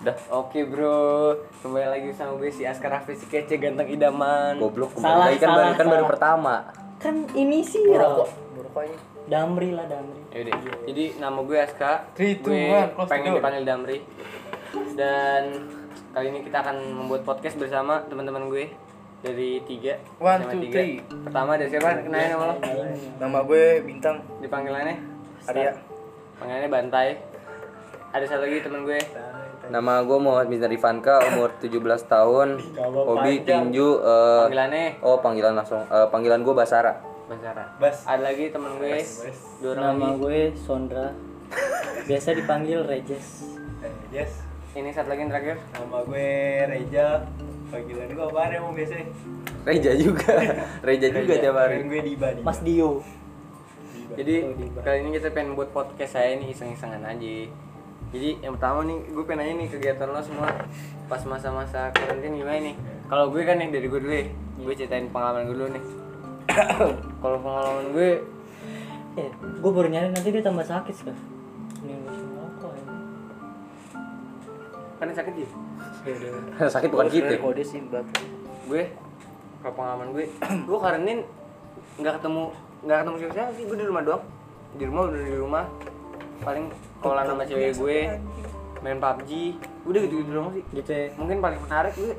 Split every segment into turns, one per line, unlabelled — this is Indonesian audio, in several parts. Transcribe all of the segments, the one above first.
Udah.
Oke bro, kembali lagi sama gue si Askar Hafiz si kece ganteng idaman.
Goblok kembali
salah,
lagi kan
salah,
baru kan baru
salah.
pertama.
Kan ini sih
Rokok.
Damri lah Damri.
Yaudah. Jadi nama gue Aska.
Three, two,
gue
one, close the
pengen
door.
dipanggil Damri. Dan kali ini kita akan membuat podcast bersama teman-teman gue dari tiga.
One,
sama
two,
tiga.
three.
Pertama dari siapa? Kenalin sama lo.
Nama gue Bintang
Dipanggilannya?
Arya.
Panggilannya Bantai. Ada satu lagi teman gue.
Nama gue Muhammad Miznar Ivanka, umur 17 tahun. Hobi tinju eh,
Panggilannya
oh panggilan langsung eh, panggilan gue Basara.
Basara.
Bas.
Ada lagi teman gue. Dua orang
Nama
lagi.
gue Sondra. Biasa dipanggil Rejes.
Yes.
Ini satu lagi yang terakhir.
Eh, Nama gue Reja. Panggilan gue apa ya mau biasanya?
Reja juga. Reja juga tiap
Panggilan
hari.
gue Diba nih.
Mas Dio.
Jadi kali ini kita pengen buat podcast saya nih iseng-isengan aja. Jadi yang pertama nih, gue pengen nanya nih kegiatan lo semua pas masa-masa karantina gimana nih? Kalau gue kan nih dari gue dulu ya, gue ceritain pengalaman gue dulu nih. Kalau pengalaman gue,
Eh, gue baru nyari nanti dia tambah sakit sih. Ini gue cuma rokok ya.
kan yang sakit ya.
Sakit bukan gitu.
Kode sih bapak.
Gue, kalau pengalaman gue, gue karantin nggak ketemu nggak ketemu siapa-siapa sih, gue di rumah doang. Di rumah udah di rumah, paling kolan sama cewek gue, main PUBG, udah gitu-gitu doang sih.
Gitu ya.
mungkin paling menarik gue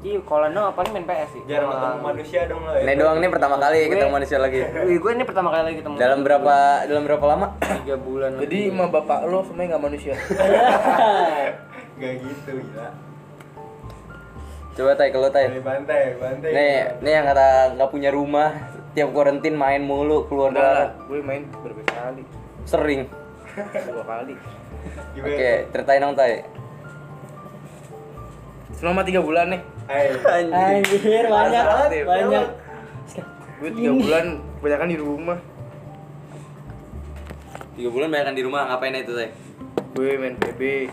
iya kalau no paling main PS sih
Jarang
Kalau-
ketemu manusia dong lo. ya?
Ini doang nih pertama kali ketemu
Gue-
manusia lagi.
Wih, gue ini pertama kali lagi ketemu
Dalam berapa dalam berapa lama?
tiga bulan lebih.
bapak lo semuanya nggak manusia. Gak gitu gila.
Coba tay kalau
Dari
tay.
bantai, bantai.
Nih, nih yang kata nggak punya rumah, tiap kuarantin main mulu keluar keluar
Gue main berapa kali?
sering.
Dua kali.
Oke, ceritain dong tay.
Selama tiga bulan nih.
Anjir, banyak
banget ya,
banyak.
Gue tiga bulan kebanyakan di rumah.
Tiga bulan banyakan di rumah ngapain itu tay?
Gue main PB,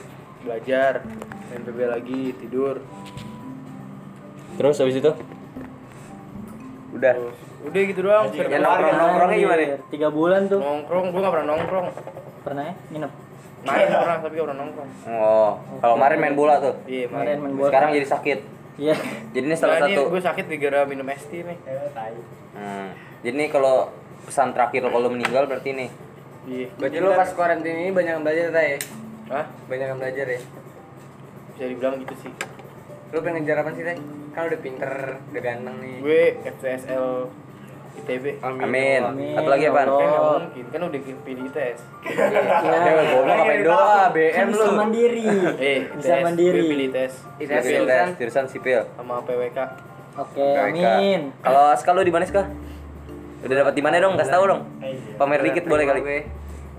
belajar, main PB lagi, tidur.
Terus habis itu? Udah.
Udah gitu doang.
Ya, nongkrong nongkrongnya gimana?
Anjir, Tiga bulan tuh.
Nongkrong, gue gak pernah nongkrong.
Pernah ya? Nginep.
Main pernah, tapi gak pernah nongkrong.
Oh, kalau kemarin main bola tuh.
Iya,
Kemarin main bola.
Sekarang jadi sakit.
Iya.
Jadi ini salah satu.
gue sakit gara minum es teh nih.
Hmm. Jadi ini kalau pesan terakhir lo kalau meninggal berarti ini.
Iya.
berarti lo pas karantina ini banyak yang belajar tay ya?
Hah?
banyak yang belajar ya
Bisa dibilang gitu sih.
lo pengen ngejar apa sih tay kan udah pinter udah ganteng
Iya.
nih
Gue FTSL ITB.
Amin.
Amin.
Satu lagi
Kan
apaan?
Ya
gak
Allah.
mungkin, kan udah pilih ITS.
Iya.
Ya, goblok ngapain doa,
Kan
BM lu.
bisa mandiri.
Eh,
Bisa
ITS.
mandiri.
Gue pilih ITS.
ITS
Jurusan-
jurusan
Jurusan sipil.
Sama PWK.
Oke,
PWK.
amin.
Kalau Aska lu di mana Aska? Udah dapat di mana dong? Kasih tahu dong. Pamer dikit boleh kali.
gue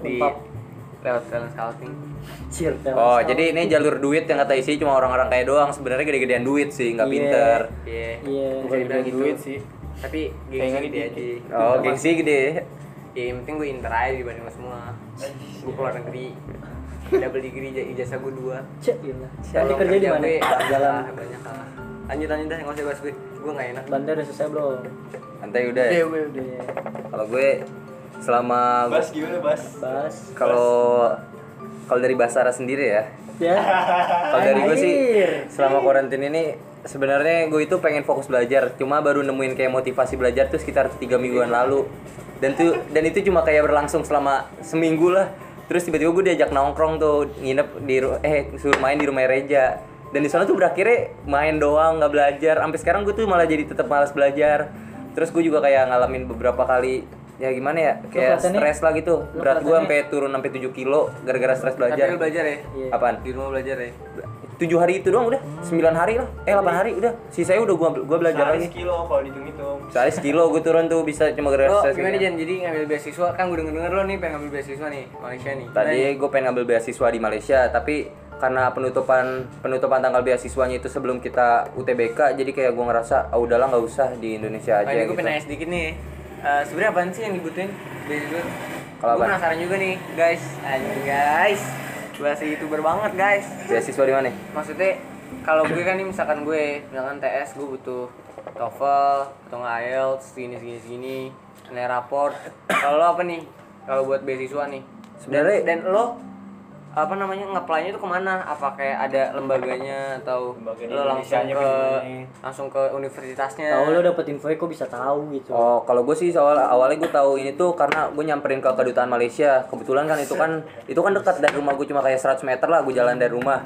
di
Lengkap.
lewat talent scouting
Cil.
Oh, jadi ini jalur duit yang kata isi cuma orang-orang kaya doang. Sebenarnya gede-gedean duit sih, nggak
Iya.
pinter.
iya
Iya.
bisa dibilang gitu
duit sih.
tapi
Kayaknya
gengsi dia
dikit.
aja
Oh, gengsi gede.
ya yang penting gue inter aja dibanding lo semua gue keluar negeri double degree ija- ijazah gue dua
Cek gila. Nanti kerja di mana?
Jalan
Jalan.
banyak kalah. Lanjut lanjut dah nggak usah bahas gue. Gue nggak enak.
Bandar udah selesai belum?
Santai udah.
Udah,
ya.
udah, udah.
Iya.
Kalau gue selama
Bas gimana, Bas?
Bas.
kalau kalau dari Basara sendiri ya.
Ya.
Kalau dari gue sih
Anjir.
selama karantina ini sebenarnya gue itu pengen fokus belajar. Cuma baru nemuin kayak motivasi belajar tuh sekitar tiga mingguan lalu. Dan tuh dan itu cuma kayak berlangsung selama seminggu lah. Terus tiba-tiba gue diajak nongkrong tuh nginep di ru- eh suruh main di rumah Reja. Dan di sana tuh berakhirnya main doang nggak belajar. Sampai sekarang gue tuh malah jadi tetap malas belajar. Terus gue juga kayak ngalamin beberapa kali ya gimana ya kayak
kelihatannya-
stres lah gitu.
lu
Berat gue
kelihatannya-
sampai turun sampai 7 kilo gara-gara stres
Tapi lo
belajar.
belajar ya.
Iya.
Apaan?
Di rumah belajar ya.
tujuh hari itu doang udah sembilan hari lah eh delapan hari udah sisanya udah gua gua belajar lagi
kilo kalau dihitung-hitung.
sehari sekilo gua turun tuh bisa cuma gara
Lo Oh,
stres
gimana
gitu.
Jan? Jadi ngambil beasiswa kan gue denger denger lo nih pengen ngambil beasiswa nih Malaysia nih. Nah, Gimana
tadi
nih?
gua pengen ngambil beasiswa di Malaysia tapi karena penutupan penutupan tanggal beasiswanya itu sebelum kita UTBK jadi kayak gua ngerasa ah udahlah nggak usah di Indonesia
Oh, ini
aja
gue
gitu
pengen nanya sedikit nih. Eh Sebenarnya apaan sih yang dibutuhin beasiswa?
Kalau
gue
apa?
penasaran juga nih guys. Anjing guys. Bahasa youtuber banget guys.
beasiswa di mana
Maksudnya kalau gue kan nih misalkan gue misalkan TS gue butuh TOEFL atau nggak IELTS segini segini segini nilai raport. Kalau lo apa nih? Kalau buat beasiswa nih?
sebenarnya
dan lo apa namanya ngeplaynya itu kemana? Apa kayak ada lembaganya atau
Lembaga di
lo langsung
Indonesia-nya
ke
gimana?
langsung ke universitasnya?
Tahu lo Ya dapet info kok bisa tahu gitu.
Oh, kalau gue sih soal awalnya gue tahu ini tuh karena gue nyamperin ke kedutaan Malaysia. Kebetulan kan itu kan itu kan dekat dari rumah gue cuma kayak 100 meter lah gue jalan dari rumah.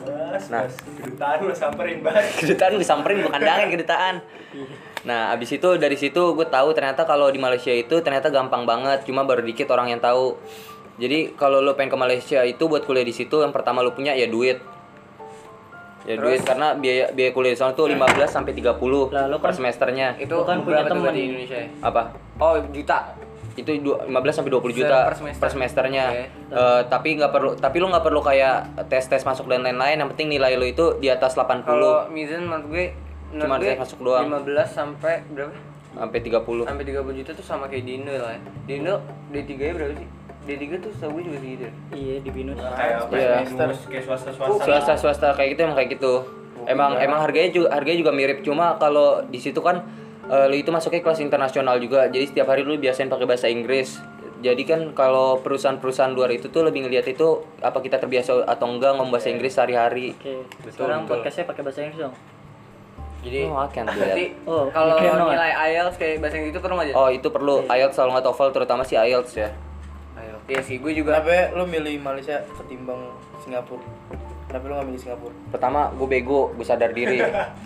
Nah, Iya.
kedutaan lu samperin banget
kedutaan gue samperin bukan dangin kedutaan. Nah, abis itu dari situ gue tahu ternyata kalau di Malaysia itu ternyata gampang banget, cuma baru dikit orang yang tahu. Jadi kalau lo pengen ke Malaysia itu buat kuliah di situ yang pertama lo punya ya duit. Ya duit karena biaya biaya kuliah di sana tuh
Hmm.
15 sampai 30
Lah, lo
per
kan-
semesternya.
Itu
Lo kan punya
berapa tuh
temen.
di Indonesia? ya?
Apa?
Oh, juta.
itu du- 15 sampai 20 juta
Per
per,
semester.
semesternya.
Oke.
Eh, tapi nggak perlu tapi lu nggak perlu kayak tes-tes masuk dan lain-lain, yang penting nilai lu itu di atas 80
Kalau Mizan menurut gue menurut
Cuma
gue
saya masuk doang.
15 sampai berapa?
sampai 30.
sampai 30 juta tuh sama kayak di Indo lah ya. Di Indo D3 nya berapa sih? D3 tuh setahu gue juga segitu. ya.
Iya di binus.
kayak
Iya.
semester kayak swasta swasta
Swasta-swasta kayak gitu emang kayak gitu. Emang emang harganya juga harganya juga mirip, cuma kalau di situ kan eh, lu itu masuknya kelas internasional juga. Jadi setiap hari lu biasain pakai bahasa Inggris. Jadi kan kalau perusahaan-perusahaan luar itu tuh lebih ngelihat itu apa kita terbiasa atau enggak ngomong bahasa Inggris sehari-hari.
Oke. Sekarang podcastnya pakai bahasa Inggris dong.
Jadi
Oh, I can't do that.
berarti
Oh,
kalau
keren banget.
nilai IELTS kayak bahasa Inggris itu perlu aja.
Oh itu perlu IELTS kalau nggak TOEFL terutama sih IELTS ya.
Ayo. Iya sih, gue juga
kenapa ya, lu milih Malaysia ketimbang Singapura kenapa lu nggak milih Singapura
Pertama gue bego, gue sadar diri.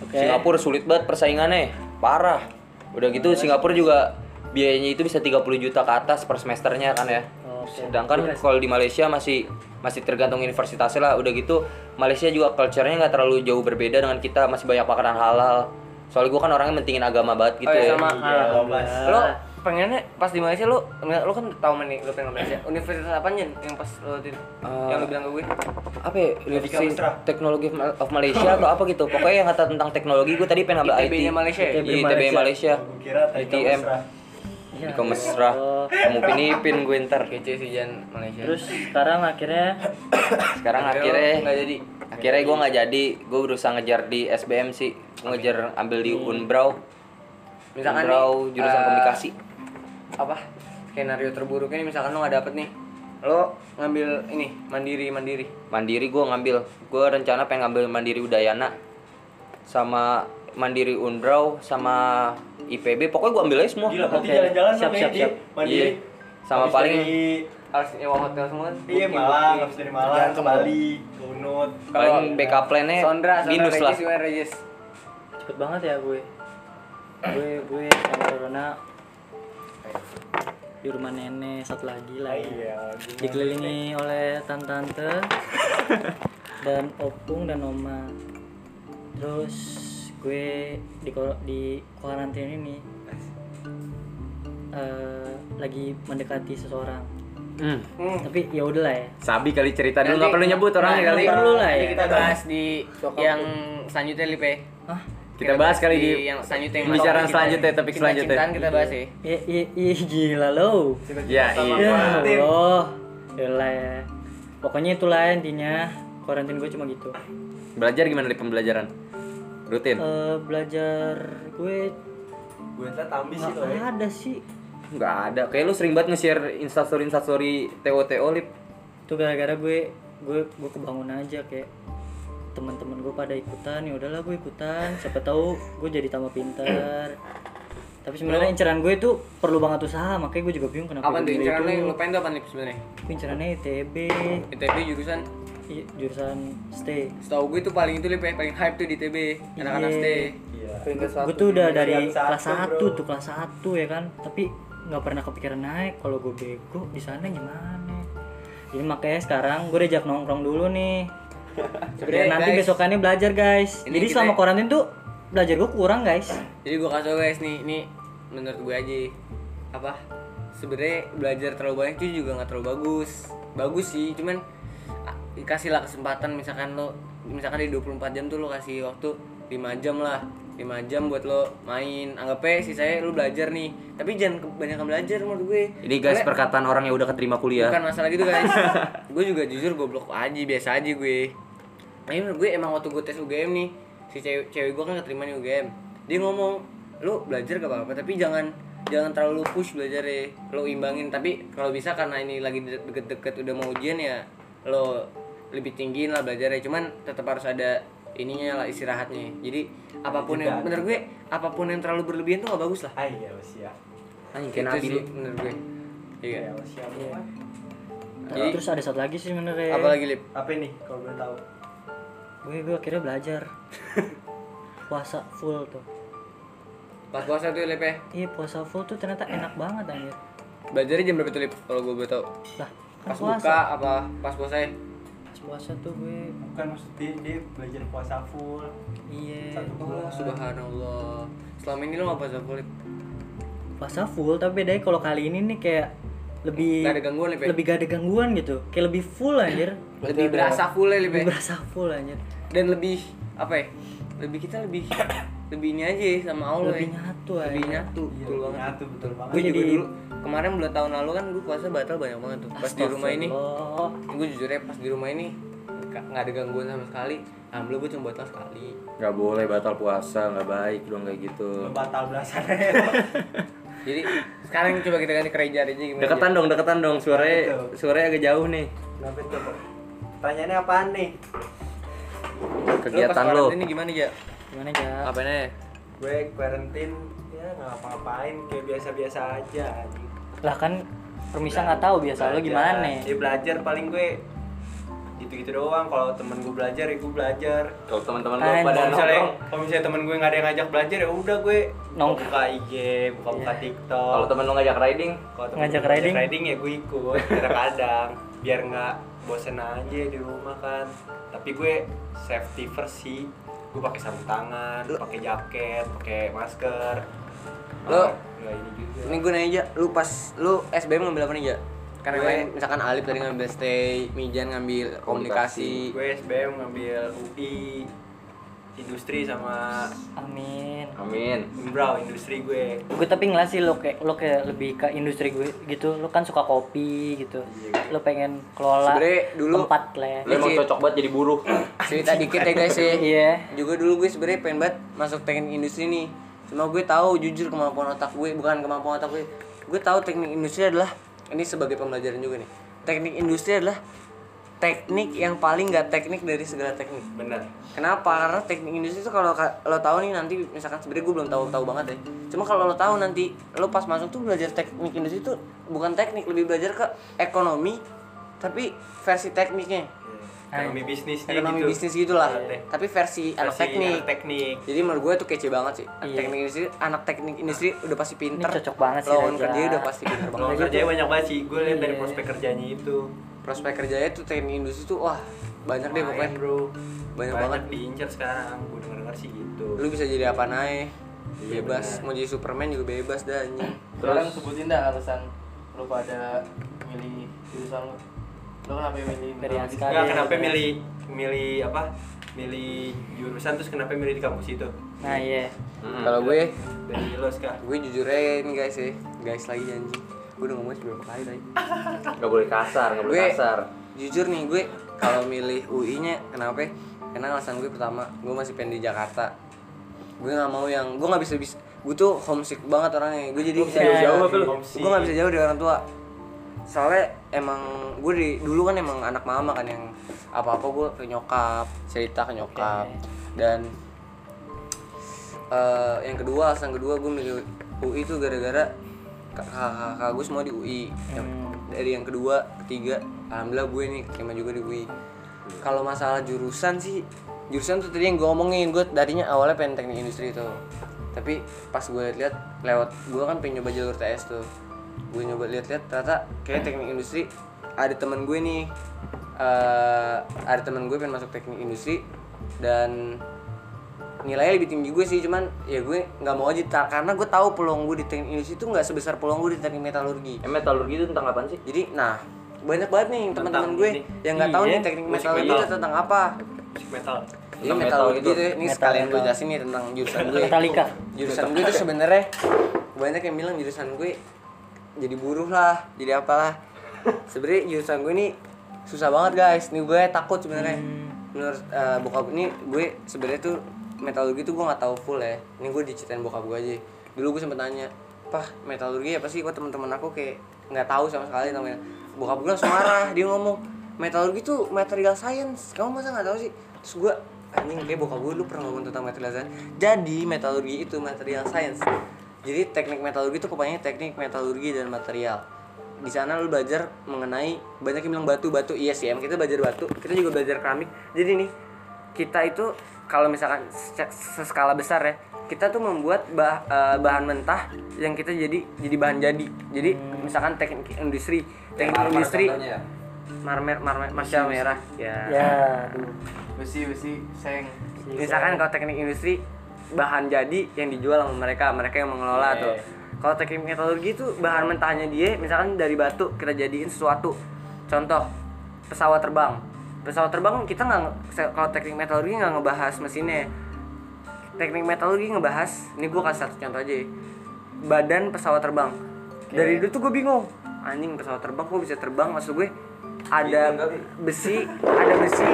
Singapura sulit banget persaingannya, parah. Udah gitu Singapura juga biayanya itu bisa 30 juta ke atas per semesternya kan ya.
Oke.
Sedangkan kalau di Malaysia masih masih tergantung universitasnya lah. Udah gitu Malaysia juga culture-nya nggak terlalu jauh berbeda dengan kita, masih banyak makanan halal. Soalnya gue kan orangnya mentingin agama banget gitu
Oh, iya,
ya.
sama
Alhamdulillah.
lo
Ah.
pengennya pas di Malaysia lo enggak lo kan tahu mana nih lo pengen ke Malaysia. Universitas apa Nyen? yang pas lo di-
Eh,
yang lo bilang ke gue?
apa ya, Universitas Teknologi of Mal- of Malaysia atau apa gitu pokoknya yang kata tentang teknologi gue tadi pengen ngambil IT
ITB-nya Malaysia ya?
Iya, ITB Malaysia
kira
ITM
Iya.
di Kemesra
Oh.
kamu pinipin gue ntar
Iya, ya
Nah,
Kece sih Jan Malaysia.
Terus sekarang akhirnya
sekarang
Tapi lo
akhirnya
Iya, nggak jadi.
akhirnya gue nggak jadi gue berusaha ngejar di SBM sih gue ngejar ambil di Unbrau
Hmm. Misalkan
Unbrau
nih,
jurusan
eh,
komunikasi
apa skenario terburuknya nih misalkan lo nggak dapet nih lo ngambil ini mandiri mandiri
mandiri gue ngambil gue rencana pengen ngambil mandiri Udayana sama mandiri Unbrau sama IPB pokoknya gue ambil aja semua
gila berarti
Oke.
jalan-jalan
Siap,
sama
siap,
di
siap.
Iya.
mandiri
Sama
Habis
paling-
dari-
harus nyewa hotel semua kan?
iya
Booking,
Malang
booking.
habis dari Malang ke Bali ke Unut
paling backup plan-nya
Sondra, Sondra
Binus
Regis,
lah
gimana, Regis?
cepet banget ya gue. Gue gue sama corona di rumah nenek satu lagi lah. ya.
iya,
Dikelilingi oleh tante-tante dan opung dan oma. Terus gue di kor- di karantina ini eh, lagi mendekati seseorang.
Hmm.
Tapi ya udahlah ya.
Sabi kali cerita
Nanti- Nah,
kali.
nanti
Perlu lah
nanti
ya.
Kita
Iya,
bahas di yang selanjutnya Lipe.
Hah?
Kita bahas kali di
yang selanjutnya yang
pembicaraan
masalah
selanjutnya,
cinta-
topik selanjutnya.
cinta-cintaan kita bahas ya.
Iya iya iya gila lo.
Ya iya.
Ya Allah. Yalah ya. Pokoknya itulah intinya karantin gue cuma gitu.
Belajar gimana di pembelajaran? Rutin?
Eh, belajar gue
gue tak tambis sih
nggak ada sih.
Nggak ada. Kayak lu sering banget nge-share instastory instastory TOTO lip.
Itu gara-gara gue gue gue kebangun aja kayak teman-teman gue pada ikutan ya udahlah gue ikutan siapa tahu gue jadi tambah pintar tapi sebenarnya inceran gue itu perlu banget usaha makanya gue juga bingung kenapa
Apa tuh
gue
Iya.
milih
incaran
itu.
lu yang lupain tuh apa nih sebenarnya?
Gue incerannya ITB
ITB jurusan
i- jurusan stay
setahu gue tuh paling itu Lipe paling hype tuh di ITB anak-anak
Iya.
SD.
gue tuh udah dari kelas 1 tuh kelas 1 ya kan tapi nggak pernah kepikiran naik kalau gue bego di sana gimana jadi makanya sekarang gue diajak nongkrong dulu nih
Oke,
Biar nanti
guys.
besokannya belajar guys
Ini
jadi
kita- ya.
selama karantin tuh belajar gue kurang guys
Jadi gue kasih tau guys nih, ini menurut gue aja apa sebenarnya belajar terlalu banyak itu juga nggak terlalu bagus. Bagus sih, cuman ah, kasihlah kesempatan misalkan lo misalkan di 24 jam tuh lo kasih waktu 5 jam lah 5 jam buat lo main anggap aja sisanya lo belajar nih tapi jangan kebanyakan belajar menurut gue
Ini guys
Karena
perkataan orang yang udah keterima kuliah.
bukan masalah gitu guys gue juga jujur goblok aja biasa aja gue Nah, ini menurut gue emang waktu gue tes UGM nih si cewek cewek gue kan keterima nih UGM dia ngomong lu belajar gak apa-apa tapi jangan jangan terlalu push belajar ya lo imbangin tapi kalau bisa karena ini lagi de- deket-deket udah mau ujian ya lo lebih tinggiin lah belajarnya cuman tetap harus ada ininya lah istirahatnya jadi apapun yang menurut gue apapun yang terlalu berlebihan tuh gak bagus lah
Ah iya usia.
Anjing
Itu
kayak nabi
sih
lu.
menurut gue iya
Iya usia. apa?
Tapi Nah, terus ada satu lagi sih sebenarnya.
apalagi lip
Apa nih kalau boleh tahu?
Gue gue akhirnya belajar. puasa full tuh.
pas puasa tuh lip ya
Iya puasa full tuh ternyata enak banget anjir.
belajarnya jam berapa tuh lip kalau gue boleh tahu
Lah kan
pas buka
puasa.
apa pas puasa ya
Pas puasa tuh gue
Bukan maksudnya dia belajar puasa full.
iya
Satu
oh,
bulan.
subhanallah selama ini lo gak puasa full lip
puasa full tapi bedanya kalau kali ini nih kayak lebih
Gak ada gangguan, Lip, ya?
lebih gak ada gangguan gitu kayak lebih full anjir
lebih berasa full ya lip ya
lebih berasa full anjir
dan lebih apa ya lebih kita lebih lebih ini aja ya sama Allah ya.
Lebih nyatu aja.
lebih nyatu
Iya,
betul banget
nyatu, betul banget.
gue juga
Jadi-
dulu kemarin bulan tahun lalu kan gue puasa batal banyak banget tuh pas di rumah ini
Astagfirullah.
gue jujur ya pas di rumah ini ka- nggak ada gangguan sama sekali alhamdulillah gue cuma batal sekali
Gak boleh batal puasa, gak baik dong kayak gitu.
Lu batal belasan.
jadi sekarang coba kita ganti kerja aja gimana
Deketan dong, deketan dong. Suaranya
Betul.
suaranya agak jauh nih.
Kenapa itu? Pertanyaannya apaan nih?
Kegiatan lo.
ini gimana ya
gimana ya
ngapain aja
Gue kuarantin ya nggak apa-apain kayak biasa-biasa aja. gitu.
lah kan permisa nggak tahu biasa lo
Belajar.
gimana
Ya belajar paling gue gitu-gitu doang kalau temen gue belajar ya gue belajar
Kalau teman-teman lo
Anjing.
pada
kalau misalnya
nongkrong,
kalau misalnya temen gue nggak ada yang ngajak belajar ya udah gue
Nongkrong. Iya.
buka IG buka buka TikTok
kalau teman lo ngajak riding,
Kalau temen
Ngajak
gue
riding?
riding ya gue ikut kadang-kadang biar nggak bosen aja di rumah kan tapi gue safety first sih gue pakai sarung tangan pakai jaket pakai masker
Lu-
nggak ini juga
ini gue nanya aja lu pas lu SBM ngambil apa nih ya karena yang
Gue-
lain misalkan Alif tadi ngambil stay Mijan ngambil komunikasi
gue SBM ngambil UI industri sama
amin
amin.
Umbrau industri gue
gue tapi ngelas sih lo kayak lo kayak lebih ke industri gue gitu lo kan suka kopi gitu lo pengen kelola
Sebenernya dulu-
tempat lah
Lo emang cocok banget jadi buruh.
cerita dikit ya guys ya
Iya.
juga dulu gue sebenarnya pengen banget masuk teknik industri nih cuma gue tahu jujur kemampuan otak gue bukan kemampuan otak gue gue tahu teknik industri adalah ini sebagai pembelajaran juga nih teknik industri adalah teknik yang paling gak teknik dari segala teknik
bener
Kenapa? Karena teknik industri itu kalau ka- lo tahu nih nanti misalkan sebenarnya gue belum tahu tahu banget ya. Cuma kalau lo tahu nanti lo pas masuk tuh belajar teknik industri itu bukan teknik lebih belajar ke ekonomi tapi versi tekniknya.
Iya. ekonomi bisnis nih
Ekonomi
gitu.
bisnis gitulah.
Iya.
Tapi versi, anak
Versi
teknik.
anak teknik
Jadi menurut gue tuh kece banget sih.
Iya.
Teknik industri, anak teknik industri udah pasti pinter.
cocok banget sih,
Lawan
Raja.
kerja udah pasti pinter banget. ya.
Lowongan kerjanya banyak banget sih, gue lihat dari
Iya.
prospek kerjanya itu
Prospek kerjanya tuh teknik industri tuh wah banyak deh pokoknya.
Lumayan, bro
Banyak
Banyak,
banget.
banget diincar sekarang, gue denger denger sih gitu
Lu bisa jadi apa naik
Iya,
bebas
benar.
mau jadi Superman juga bebas dah anjing.
Sekarang sebutin dah alasan lu pada milih jurusan lu. Lu kenapa milih
Dari
jurusan
Aska.
Nggak,
Ada-
ya,
kenapa
ada-
milih, milih apa? Milih jurusan terus kenapa milih di kampus itu?
nah iya
Kalau gue
Dari lo, Ska
gue jujur aja nih guys ya guys lagi janji gue udah ngomongnya berapa kali tadi
Gak boleh kasar, gak boleh
Gue-
kasar.
jujur nih gue kalau milih UI nya kenapa ya? karena alasan gue pertama gue masih pengen di Jakarta gue nggak mau yang gue nggak bisa bisa gue tuh homesick banget orangnya gue jadi gitu.
Lu bisa jauh-jauh apa lu?
gue nggak bisa jauh dari orang tua soalnya emang gue di dulu kan emang anak mama kan yang apa apa gue ke nyokap cerita ke nyokap dan eh, yang kedua alasan kedua gue milih UI itu gara-gara kak- kakak kakak gue semua di UI Yang- dari yang kedua ketiga alhamdulillah gue nih keterima juga di UI kalau masalah jurusan sih jurusan tuh tadi yang gue omongin gue tadinya awalnya pengen teknik industri itu tapi pas gue lihat lewat gue kan pengen nyoba jalur TS tuh gue nyoba lihat-lihat ternyata kayak teknik industri ada teman gue nih eh ada teman gue pengen masuk teknik industri dan nilainya lebih tinggi gue sih cuman ya gue nggak mau aja ta- karena gue tahu peluang gue di teknik industri itu nggak sebesar peluang gue di teknik metalurgi
Eh metalurgi itu tentang apaan sih?
jadi nah banyak banget nih teman-teman gue yang nggak tahu
Iya.
nih teknik
Musik
metalurgi
metal.
itu tentang apa
Musik metal
ini
Tentang
metalurgi
metal
itu ini sekalian gue jelasin nih tentang jurusan gue
Metallica.
jurusan gue itu sebenarnya banyak yang bilang jurusan gue jadi buruh lah jadi apalah sebenarnya jurusan gue ini susah banget guys nih gue takut sebenarnya menurut eh, bokap ini gue sebenarnya tuh metalurgi tuh gue nggak tahu full ya ini gue diceritain bokap gue aja dulu gue sempet tanya pah metalurgi apa sih kok teman-teman aku kayak nggak tahu sama sekali namanya bokap gue langsung marah dia ngomong metalurgi tuh material science kamu masa nggak tahu sih terus gue anjing kayak bokap gue dulu pernah ngomong tentang material science jadi metalurgi itu material science jadi teknik metalurgi itu pokoknya teknik metalurgi dan material di sana lu belajar mengenai banyak yang bilang batu batu iya sih emang kita belajar batu kita juga belajar keramik jadi nih kita itu kalau misalkan se- seskala besar ya kita tuh membuat bah- eh, bahan mentah yang kita jadi jadi bahan jadi jadi misalkan teknik industri teknik
Marmer
industri
contohnya ya.
marmer marmer masya merah ya
ya aduh
besi besi seng
misalkan kalau teknik industri bahan jadi yang dijual sama mereka mereka yang mengelola tuh kalau teknik metalurgi itu bahan mentahnya dia misalkan dari batu kita jadiin sesuatu contoh pesawat terbang pesawat terbang kita nggak nge- se- kalau teknik metalurgi nggak ngebahas mesinnya teknik metalurgi ngebahas ini gue kasih satu contoh aja ya. badan pesawat terbang dari dulu tuh gue bingung anjing pesawat terbang kok bisa terbang maksud gue ada besi ada besi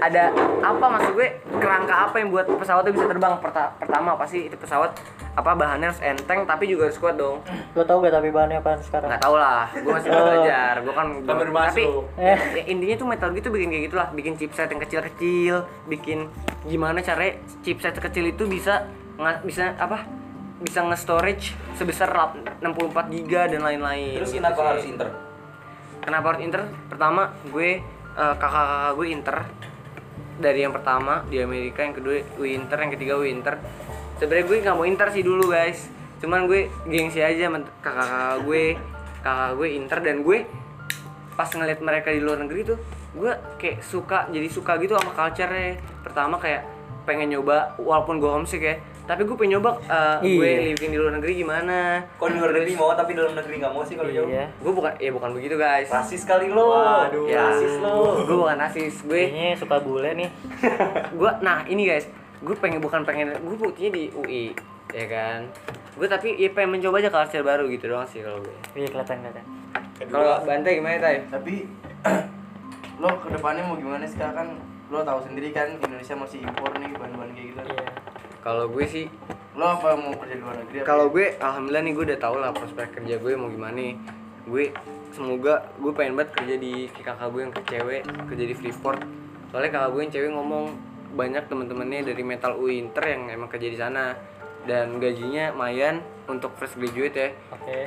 ada apa maksud gue kerangka apa yang buat pesawatnya bisa terbang Perta- pertama pasti itu pesawat apa bahannya harus enteng tapi juga harus kuat dong
lo tau gak tapi bahannya apaan sekarang Oh.
nggak tau lah gue masih baru belajar gue kan
baru
tapi
masuk.
Eh.
ya, intinya tuh metalurgi tuh bikin kayak gitulah bikin chipset yang kecil-kecil bikin gimana caranya chipset kecil itu bisa nga- bisa apa bisa nge-storage sebesar lap- 64 giga dan lain-lain
Terus
gitu
kenapa
sih.
harus inter?
kenapa harus inter pertama gue eh, kakak-kakak gue inter dari yang pertama di Amerika yang kedua winter yang ketiga winter sebenarnya gue nggak mau inter sih dulu guys cuman gue gengsi aja sama kakak-kakak gue kakak gue inter dan gue pas ngeliat mereka di luar negeri tuh gue kayak suka jadi suka gitu sama culture-nya pertama kayak pengen nyoba walaupun gue homesick ya tapi gue pengen nyoba eh, gue
Iya.
living di luar negeri gimana
Kok di luar negeri mau tapi dalam negeri nggak mau sih kalau jauh?
iya
gue bukan ya bukan begitu guys
Rasis kali lo.
Waduh.
Ya. Rasis lo.
gue bukan rasis gue
kayaknya suka bule nih
gue nah ini guys gue pengen bukan pengen gue buktinya di UI ya kan gue tapi ya pengen mencoba aja culture baru gitu doang sih kalau gue
iya kelihatan kelihatan
kalau Bante gimana tay
tapi lo kedepannya mau gimana sih Kak? kan lo tahu sendiri kan Indonesia masih impor nih bahan-bahan kayak gitu
kalau gue sih
lo apa mau kerja di luar negeri apa
kalau gue alhamdulillah nih gue udah tau lah prospek kerja gue mau gimana nih. gue semoga gue pengen banget kerja di kayak kakak gue yang cewek kerja di Freeport soalnya kakak gue yang cewek ngomong banyak teman-temannya dari Metal UI Inter yang emang kerja di sana dan gajinya lumayan untuk fresh graduate ya
oke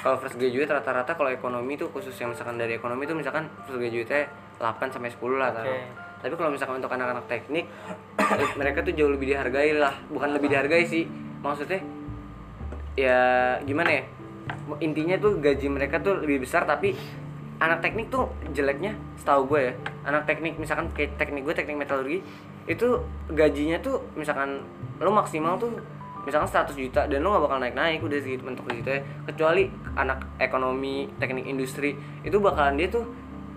kalau fresh graduate rata-rata kalau ekonomi tuh khusus yang misalkan dari ekonomi tuh misalkan fresh graduate 8 sampai 10 lah taruh.
Oke.
Tapi kalau misalkan untuk anak-anak teknik mereka tuh jauh lebih dihargai lah, bukan lebih dihargai sih. Maksudnya ya gimana ya? Intinya tuh gaji mereka tuh lebih besar tapi anak teknik tuh jeleknya setahu gue ya. Anak teknik misalkan kayak teknik gue teknik metalurgi itu gajinya tuh misalkan lo maksimal tuh misalkan 100 juta dan lo gak bakal naik-naik udah segitu mentok di situ ya kecuali anak ekonomi teknik industri itu bakalan dia tuh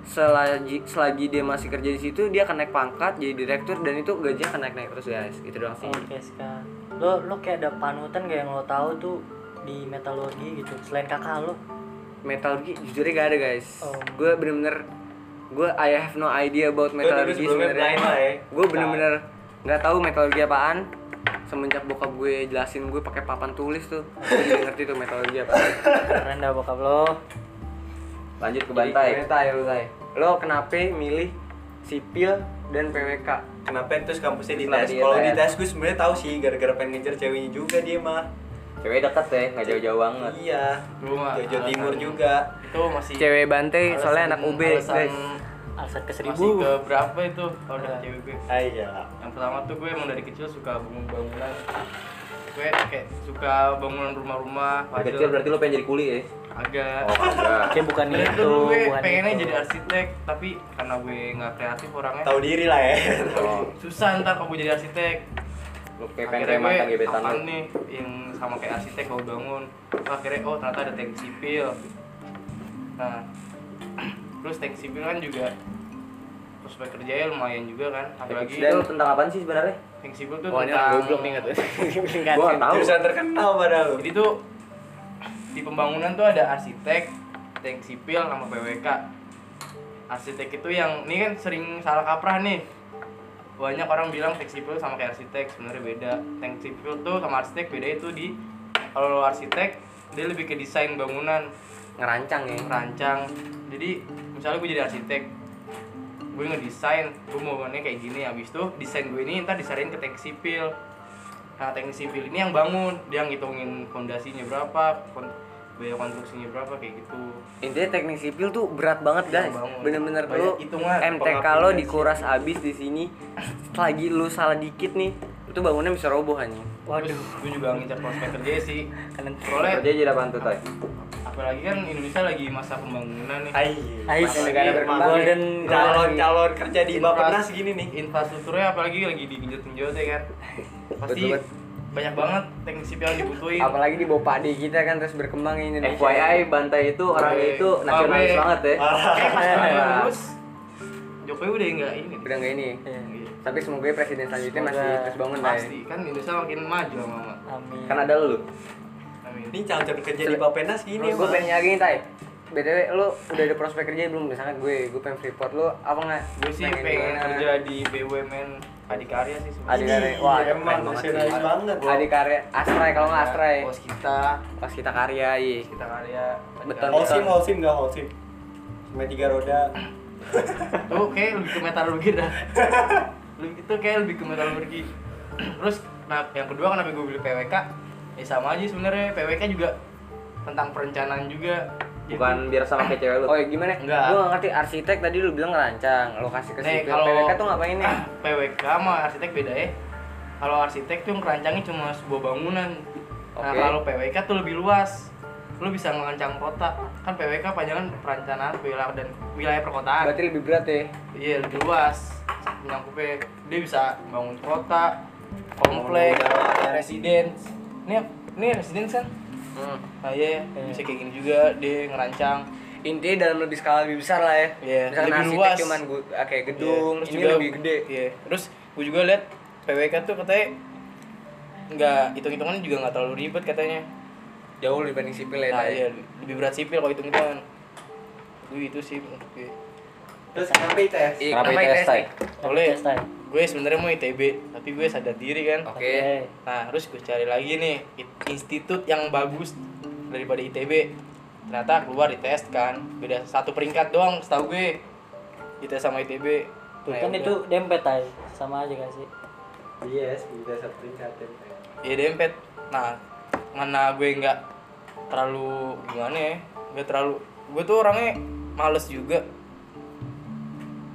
selagi selagi dia masih kerja di situ dia akan naik pangkat jadi direktur dan itu gajinya akan naik-naik terus guys itu doang sih
Oke sekarang lo lo kayak ada panutan gak yang lo tahu tuh di metalurgi gitu selain kakak lo
metalurgi jujur gak ada guys
Oh.
gue bener-bener gue I have no idea about
Lu dulu
metalurgi
sebelumnya blind lah
sebenarnya
ya.
gue bener-bener nggak tahu metalurgi apaan semenjak bokap gue jelasin gue pakai papan tulis tuh gue jadi ngerti tuh metalurgi apaan
keren dah bokap lo
Lanjut ke Bantai.
lu Tai. Lo kenapa milih sipil dan PWK?
Nah, Kenapa terus kampusnya di
Kenapa
tes?
di
Kalau di
tes?
tes gue sebenarnya tahu sih gara-gara pengen ngejar ceweknya juga dia mah.
Cewek deket ya, nggak jauh-jauh banget.
Iya.
Gua mah
Jojo
alasan-
Timur juga.
itu masih
Cewek Bante
Iya. alasan-
soalnya anak UB,
alasan
guys.
alasan ke
masih
seribu
ke berapa itu kalau udah cewek gue
Ah, iya.
yang pertama tuh gue emang dari kecil suka bangun bangunan gue kayak suka bangunan rumah-rumah
Dari Kecil berarti lo pengen jadi kuli ya?
agak
enggak.
Oke bukan
Sebenarnya
itu,
tuh dulu Iya. gue
bukan
pengennya
itu.
jadi arsitek tapi karena gue nggak kreatif orangnya
Tahu diri lah ya.
susah ntar kalau gue jadi arsitek
Lo kayak pengen remang kan gebetan lo.
apaan nih yang sama kayak arsitek kalau bangun Terus akhirnya oh ternyata ada tank sipil nah terus tank sipil kan juga prospek kerjanya lumayan juga kan apalagi
Dan lo tentang apaan sih sebenarnya?
tank sipil tuh
Wah, ini orang
tentang
goblok nih, nggak
Gue nggak tahu.
Jurusan terkenal padahal.
jadi tuh di pembangunan tuh ada arsitek tank sipil sama PWK arsitek itu yang ini kan sering salah kaprah nih banyak orang bilang tank sipil sama kayak arsitek sebenarnya beda tank sipil tuh sama arsitek beda itu di kalau arsitek dia lebih ke desain bangunan
Ngerancang ya.
rancang jadi misalnya gue jadi arsitek gue ngedesain gue mau bangunnya kayak gini habis itu desain gue ini ntar disarin ke teknik sipil nah teknik sipil ini yang bangun dia ngitungin fondasinya berapa kon- biaya konstruksinya berapa kayak gitu
Intinya teknik sipil tuh berat banget guys.
Yang Iya, bangun.
Bener-bener
Banyak
lu
hitungan,
MTK lo
pengabdian
dikuras abis di sini. Lagi lu salah dikit nih, itu bangunnya bisa roboh anjing.
Terus gue juga ngincar prospek kerja sih soalnya
Kerja jadi apaan tuh tay?
apalagi kan Indonesia lagi masa pembangunan nih
Ais,
Apalagi
negara berkembang.
golden
Golden-
calon-calon kerja di Bapenas
Infras-
gini nih.
infrastrukturnya apalagi lagi digenjot-genjot ya kan pasti
Betul, bet.
banyak banget teknik sipil yang dibutuhin
Apalagi di Bopadi kita kan terus berkembang ini Indonesia.
FYI Bantai itu orangnya
Oke.
itu nasionalis
Oke.
banget ya.
kayak pas
Parah.
bangun lulus Jokowi udah enggak ini
udah nggak ini.
Iya.
Tapi semoga presiden selanjutnya masih
Semoga.
terus bangun lah.
pasti kan Indonesia makin maju mama
Amin.
Kan ada lu.
amin
Ini calon-calon kerja di Bapenas gini,
Terus gue
Bang.
pengen nanya gini, Tay. BTW lu udah ada prospek kerja belum? Misalkan gue, gue pengen freeport lu apa enggak?
gue sih pengen kerja di BUMN Adikarya sih
Adik
sebenarnya
karya.
Iya.
Ini,
Wah,
emang
keren banget.
nasionalis banget, bro.
Adik karya Astray kalau enggak Astray.
bos kita
Pas kita karya, iya.
kita karya
Beton.
Holsim, Holsim nggak Holsim. Cuma tiga roda.
tuh kayak lebih ke metalurgi dah lebih itu kayak lebih ke metalurgi terus nah yang kedua kenapa gue beli PWK ya sama aja sebenarnya PWK juga tentang perencanaan juga Jadi,
Bukan biar sama kayak cewek lu.
Oh, ya gimana?
Enggak.
Gue ngerti arsitek tadi lu bilang ngerancang, lokasi ke
Nih,
sipil.
kalau-
PWK tuh ngapain nih?
PWK sama arsitek beda ya kalau arsitek tuh ngerancangin cuma sebuah bangunan nah
Oke.
kalau PWK tuh lebih luas lu bisa ngerancang kota kan PWK panjangan perencanaan wilayah dan wilayah perkotaan
Berarti lebih berat ya.
iya lebih luas menyangkupnya dia bisa bangun kota komplek residence ini ini residence kan nah iya bisa kayak gini juga dia ngerancang
Intinya dalam lebih skala lebih besar lah ya.
Iya,
Misalkan
lebih
arsitek
luas.
cuman gue kayak gedung,
gedung terus
ini
juga
lebih gede.
iya terus gue juga lihat PWK tuh katanya nggak hitung hitungannya juga nggak terlalu ribet katanya
Jauh lebih banding sipil ya.
nah
Tay.
iya lebih berat sipil kalau hitung hitungan gue itu sih iya. menurut gue
Terus kenapa ITS?
Iya,
Kenapa
kenapa
ITS,
ITS
Tay?
nih?
oleh
Tes, Tay.
gue ya sebenarnya mau ITB tapi gue sadar diri kan
Oke.
Nah, terus gue cari lagi nih it- institut yang bagus daripada ITB. Ternyata keluar ITS kan, beda satu peringkat doang setahu ya. gue. ITS sama ITB.
Tuh,
Nah,
kan
ya
itu
udah.
dempet tay, sama aja gak sih?
Iya, sudah satu tingkat.
Iya dempet. Nah, mana gue nggak terlalu gimana ya? Nggak terlalu. Gue tuh orangnya males juga.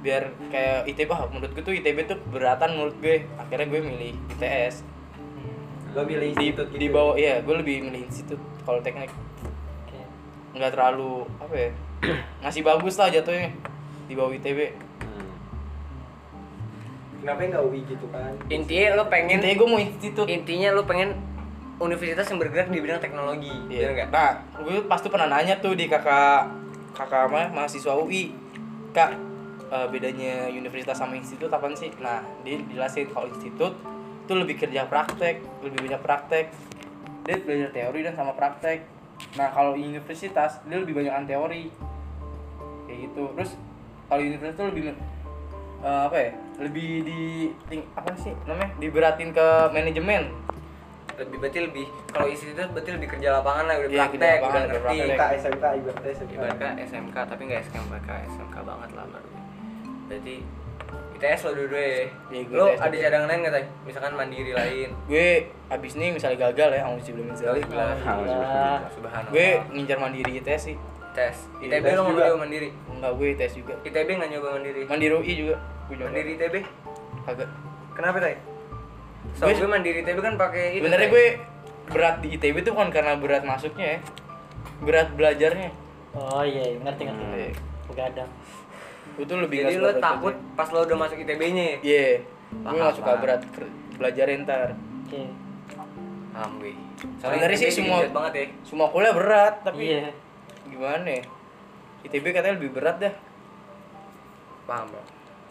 Biar kayak ITB, ah, menurut gue tuh ITB tuh keberatan menurut gue. Akhirnya gue milih ITS.
Lo milih
Di,
institut
di
gitu.
bawah, iya, gue lebih milih institut kalau teknik.
Oke.
nggak terlalu apa ya ngasih bagus lah jatuhnya di bawah ITB
Kenapa nggak UI gitu kan?
Intinya lu pengen
intinya E gue mau institut
intinya lu pengen universitas yang bergerak di bidang teknologi
Iya.
bener nggak
nah gue pas tuh pernah nanya tuh di kakak kakak apa ya, mahasiswa UI kak eh, bedanya universitas sama institut apa sih nah dia jelasin kalau institut itu lebih kerja praktek lebih banyak praktek dia belajar teori dan sama praktek nah kalau universitas dia lebih banyakan teori kayak gitu terus kalau universitas tuh lebih eh, apa ya lebih di ting- apa sih namanya diberatin ke manajemen
lebih berarti lebih kalau institut berarti lebih kerja lapangan lah udah
Iya, kerja
praktek
lapangan,
udah
udah
ngerti
praktek.
SMK, SMK, ibaratnya SMK.
ibaratnya SMK tapi nggak SMK SMK banget lah baru berarti ITS lo dulu ya
Iya, gue
lo
ITS
ada
dulu.
cadangan lain nggak tay misalkan mandiri lain
gue abis nih misalnya gagal ya Auzi belum gagal
Nah,
subhanallah
gue ngincar mandiri ITS sih
tes
Iya,
ITB
tes
lo nggak
juga.
nyoba mandiri
enggak gue ITS juga
ITB nggak nyoba mandiri
mandiri UI juga gue nyoba
mandiri ITB
kagak
kenapa tay so
Gue-
gue mandiri ITB kan pakai itu
sebenarnya
Tay.
gue berat di ITB tuh bukan karena berat masuknya ya berat belajarnya
Oh iya, iya, ngerti ngerti.
Iya.
Begadang.
gue tuh lebih
jadi
nggak
lo
suka berat
takut
belajarnya.
pas lo udah masuk ITB-nya ya?
iya gue nggak suka
Paham,
berat ker- belajarnya ntar
Oke.
Paham gue.
Sebenarnya sih
ITB
semua-
digenjot banget ya.
semua kuliah berat tapi
Iya.
gimana ya ITB katanya lebih berat dah
paham bro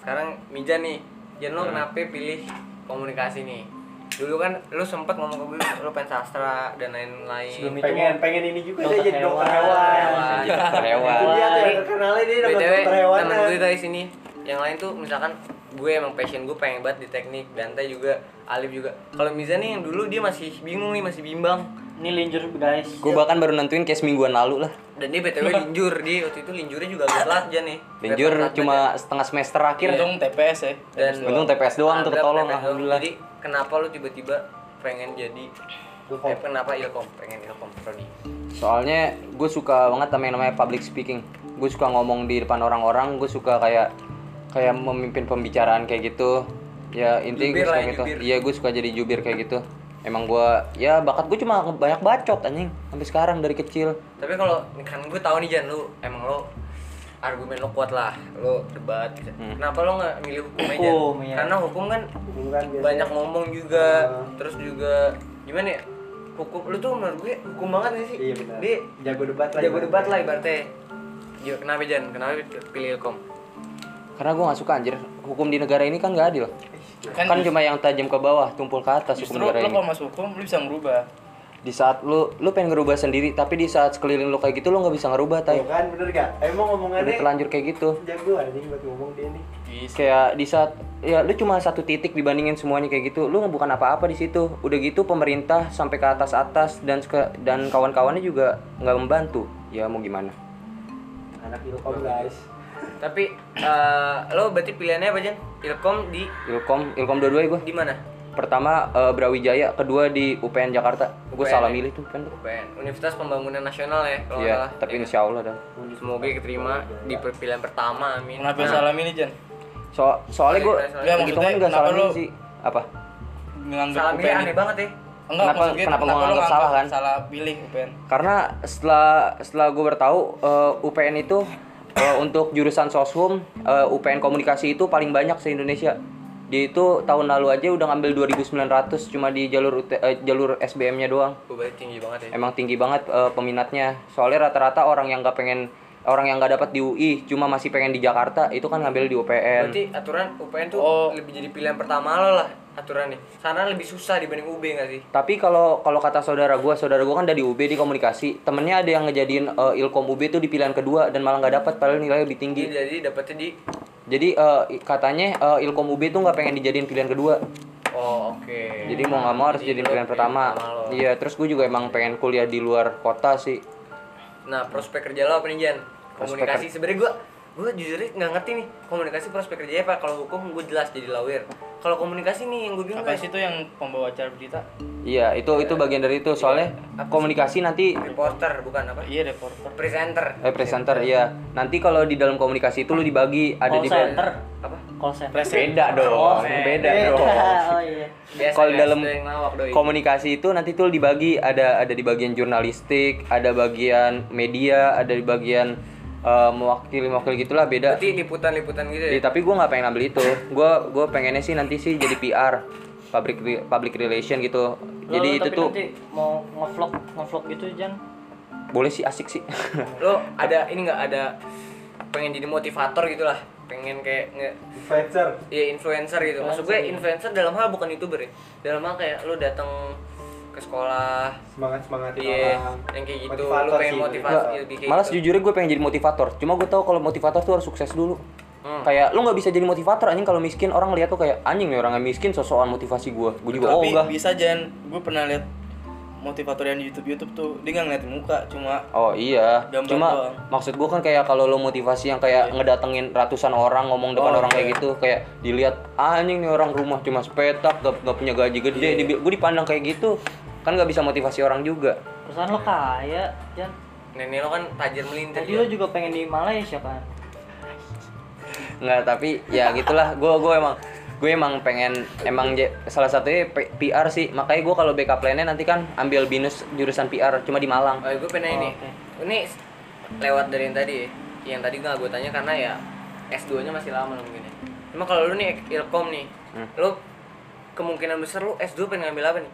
sekarang Mija nih Jen lo kenapa pilih komunikasi nih dulu kan lo sempet ngomong ke gue lo pengen sastra dan
Sebelum
lain-lain
itu
Pengen, Iya. pengen ini juga
dokter
deh jadi dokter
hewan.
hewan.
Dokter hewan.
Itu dia tuh
Hewan.
yang terkenalnya dia dokter
btw
hewan.
kan.
temen gue dari sini yang lain tuh misalkan gue emang passion gue pengen banget di teknik Dante juga Alif juga kalau Miza nih yang dulu dia masih bingung nih masih bimbang
Ini linjer guys.
Gue bahkan baru nentuin kayak semingguan lalu lah.
Dan dia BTW linjur, dia waktu itu linjurnya juga agak telat aja nih.
Linjur
Agak telat aja.
cuma setengah semester
Iya.
akhir.
Untung TPS ya.
dan
Untung TPS doang tuh
Ada
ketolong,
TPS doang.
alhamdulillah.
Jadi kenapa lu tiba-tiba pengen jadi eh, kenapa Ilkom pengen Ilkom Prodi?
Soalnya gue suka banget sama yang namanya public speaking. Gue suka ngomong di depan orang-orang. Gue suka kayak kayak memimpin pembicaraan kayak gitu. Ya intinya gue
Jubir
suka
lah ya,
gitu.
jubir.
Iya gue suka jadi jubir kayak gitu. Emang gue ya bakat gue cuma banyak bacot anjing sampai sekarang dari kecil.
Tapi kalau kan gue tahu nih Jan lu emang lu argumen lo kuat lah, lo debat. gitu. Kenapa lo nggak milih hukum aja?
Hukum, iya.
Karena hukum kan
Hukum kan biasanya.
banyak ngomong juga,
Ah.
terus juga gimana ya? Hukum lu tuh menurut gue hukum banget gak sih?
Iya benar.
Dia
Jago debat lah.
jago
ibaratnya.
debat lah ibaratnya. Ya, kenapa Jan? Kenapa pilih Ilkom?
Karena gue nggak suka anjir hukum di negara ini kan nggak adil. Kan,
Kan
cuma yang tajam ke bawah, tumpul ke atas
Justru
hukum
lo
negara ini.
kalau masuk hukum lu bisa ngerubah.
Di saat lu lu pengen ngerubah sendiri, tapi di saat sekeliling lu kayak gitu lu nggak bisa ngerubah, tay.
Iya.
Tuh kan bener gak? Emang
Udah
ngomongannya
telanjur kayak gitu.
jago anjing buat ngomong dia nih.
Iya.
Bisa.
kayak di saat ya lu cuma satu titik dibandingin semuanya kayak gitu lu bukan apa-apa di situ udah gitu pemerintah sampai ke atas atas dan ke dan kawan-kawannya juga nggak membantu ya mau gimana
Anak ilkom guys.
Tapi eh, lo berarti pilihannya apa Jan? Ilkom di
ilkom ilkom dua-dua gue
di mana?
pertama eh, Brawijaya kedua di UPN Jakarta gue
UPN,
salah
ya?
milih tuh UPN tuh.
UPN, Universitas Pembangunan Nasional ya kalau nggak
iya
salah.
tapi
Ya.
insya Allah dah
Semoga keterima di per- pilihan pertama, amin.
Kenapa
Nah,
salam ini Jan?
so soalnya gue
Iya, soalnya-
Nggak,
gitu kan
maksudnya
nggak
kenapa
salah milih
lu-
sih apa
Nganggap
Salam ini
UPN
Nah, aneh banget ya.
Enggak,
Kenapa-
maksud gue
kenapa
lo
mau nganggap salah,
nganggap
kan?
Salah pilih UPN.
karena setelah setelah gue bertahu eh, UPN itu eh, untuk jurusan soshum eh, UPN komunikasi itu paling banyak se Indonesia dia itu tahun lalu aja udah ngambil 2900 cuma di jalur UT eh, jalur SBM-nya doang
Gue berarti tinggi banget ya.
emang tinggi banget eh, peminatnya soalnya rata-rata orang yang nggak pengen orang yang nggak dapat di UI cuma masih pengen di Jakarta itu kan ngambil di UPN
Berarti aturan UPN tuh
Oh.
lebih jadi pilihan pertama lo lah aturannya. Sana lebih susah dibanding UB nggak sih?
tapi kalau kalau kata saudara gua saudara gua kan dari UB di komunikasi temennya ada yang ngejadiin eh, ilkom UB itu di pilihan kedua dan malah nggak dapat padahal nilainya lebih tinggi
Jadi, jadi dapetnya di
Jadi eh, i- katanya eh, Ilkom UB tuh nggak pengen dijadiin pilihan kedua.
Oh, oke.
Jadi mau nggak mau harus
Jadi
jadiin
lo
pilihan pertama.
pertama lo.
Iya, terus gue juga emang pengen kuliah di luar kota sih.
Nah, prospek kerja lo apa nih, Jan?
Prospek
Komunikasi sebenarnya gua gua jujur nggak ngerti nih komunikasi prospek kerjanya apa. Kalau hukum gue jelas jadi lawyer. Kalau komunikasi nih yang gue bingung
Apa
guys.
sih itu yang pembawa acara berita?
Iya, itu itu bagian dari itu soalnya komunikasi nanti
Reporter bukan apa?
Iya, reporter.
Presenter.
eh presenter iya. Nanti kalau di dalam komunikasi itu lu dibagi ada
Call
di
Oh, center.
Apa?
Call center.
beda dong, beda
iya.
dong.
oh iya.
Biasa
Kalau
guys,
dalam
ada yang lawak doi.
komunikasi itu nanti tuh dibagi ada ada di bagian jurnalistik, ada bagian media, ada di bagian eh, mewakili-mewakili gitulah beda.
Berarti liputan-liputan gitu ya.
Iya, tapi gue nggak pengen ambil itu. Gue gue pengennya sih nanti sih jadi PR, public re- public relation
Oh,
gitu.
Lo-
Jadi
lo
itu
tapi
tuh
nanti mau ngevlog ngevlog gitu Jan.
boleh sih asik sih.
Lo ada ini nggak ada pengen jadi motivator gitu lah. Pengen kayak nge-
Influencer.
ya influencer gitu. Maksud gue influencer dalam hal bukan youtuber ya. Dalam hal kayak lo datang ke sekolah,
Semangat semangatin
Iya,
orang.
yang kayak gitu.
Motivator
Lu pengen
sih,
motivasi.
Nggak,
lebih kayak
malas
gitu.
jujurnya gue pengen jadi motivator. Cuma gue tahu kalau motivator tuh harus sukses dulu.
Hmm.
Kayak lu nggak bisa jadi motivator anjing kalau miskin orang lihat tuh kayak anjing nih orang yang miskin sosokan motivasi gue. Gue juga oh
Tapi
enggak.
bisa Jan, gue pernah lihat motivator yang di YouTube YouTube tuh dia nggak ngeliatin muka, cuma
Oh iya,
Gambar
cuma
doang. Iya.
maksud gue kan kayak kalau lo motivasi yang kayak ngedatengin ratusan orang ngomong depan
Oh,
orang
iya.
kayak gitu, kayak dilihat "Ah, anjing nih orang rumah cuma sepetak, gak, gak punya gaji
Iya,
gede, gue dipandang kayak gitu, kan gak bisa motivasi orang juga.
Perusahaan lo kaya Jan.
Nenek lo kan tajir melintir.
Tadi
ya.
lo juga pengen di Malaysia kan?
Nggak, tapi ya gitulah, gue gue emang gue emang pengen emang je- salah satunya P- PR sih, makanya gue kalau backup plan-nya nanti kan ambil binus jurusan PR cuma di Malang.
Oh, gue pengen ini.
oke.
Ini s- lewat dari yang tadi ya. Yang tadi nggak gue tanya karena ya S2-nya masih lama mungkin ya. Cuma kalau lu nih ilkom nih,
Hmm.
lu kemungkinan besar lu S2 pengen ngambil apa nih?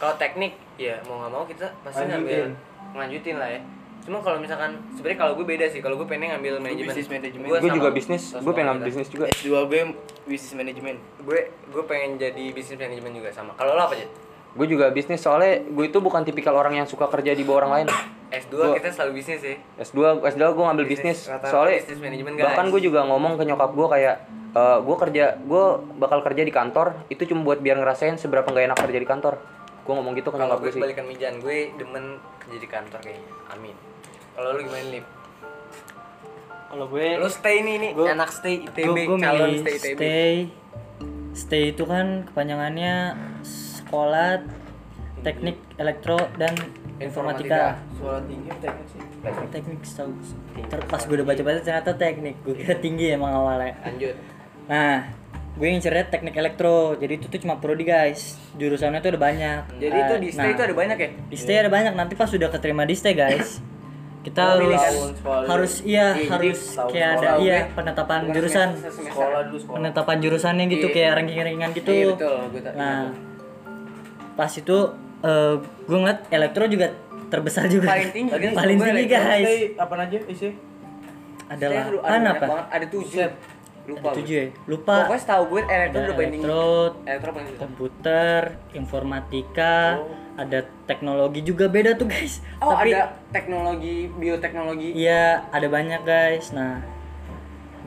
Kalau teknik, ya mau nggak mau kita pasti ngambil lanjutin lah ya. Cuma kalau misalkan sebenarnya kalau gue beda sih, kalau gue pengen ngambil manajemen.
bisnis manajemen.
Gua
Gue
sama-
juga bisnis,
sama
gue pengen
kita.
ngambil bisnis juga.
S2 gue bisnis manajemen.
Gue gue pengen jadi bisnis manajemen juga sama. Kalau lo apa aja?
Gue juga bisnis soalnya gue itu bukan tipikal orang yang suka kerja di bawah orang lain.
S2
Gua-
kita selalu bisnis ya.
S2 S2 gue ngambil
Bisnis,
bisnis,
rata-rata
soalnya
bisnis manajemen, guys.
bahkan gue juga ngomong ke nyokap gue kayak eh gue kerja gue bakal kerja di kantor itu cuma buat biar ngerasain seberapa nggak enak kerja di kantor Gue ngomong gitu
Kalau
kenapa
gue
sih?
kebalikan mijan, gue demen kerja di kantor kayaknya. Amin. Kalau lu gimana nih?
Kalau gue
Lu stay nih nih,
Gua-
anak stay
gue
ITB,
gue
calon
milih
stay ITB.
stay stay itu kan kepanjangannya sekolah teknik elektro dan informatika
Suara tinggi teknik sih.
teknik setahu Ter- pas gue udah baca-baca ternyata teknik gue kira tinggi emang awalnya
Lanjut.
nah gue ngincernya teknik elektro jadi itu tuh cuma prodi guys jurusannya tuh ada banyak
Jadi itu di stay
Nah,
itu ada banyak ya?
di stay ada banyak nanti pas sudah keterima di stay guys kita harus
tahun sekolah dulu.
harus iya
Iya, jadi
harus
tahun
kayak ada
sekolah,
iya
oke.
penetapan
Bukan
jurusan
semester- semester.
Sekolah dulu sekolah.
penetapan jurusannya gitu
Iya.
kayak ranking-rankingan gitu
Iya betul, gue tak.
nah pas itu eh, gue ngeliat elektro juga terbesar juga
Paling tinggi kan?
paling
Gue
tinggi
elektro
guys
Stay apa aja isi?
ada
Stay ada- ada
lapan
banyak
apa
banget, Ada tujuh. Lupa.
ada tujuh ya lupa
Pak. Pokoknya setahu gue elektro
ada
udah paling tinggi.
Iya, elektro
Elektro paling tinggi.
komputer informatika ada teknologi juga beda tuh guys
Oh
tapi
ada teknologi, bioteknologi.
Iya, ada banyak guys. Nah,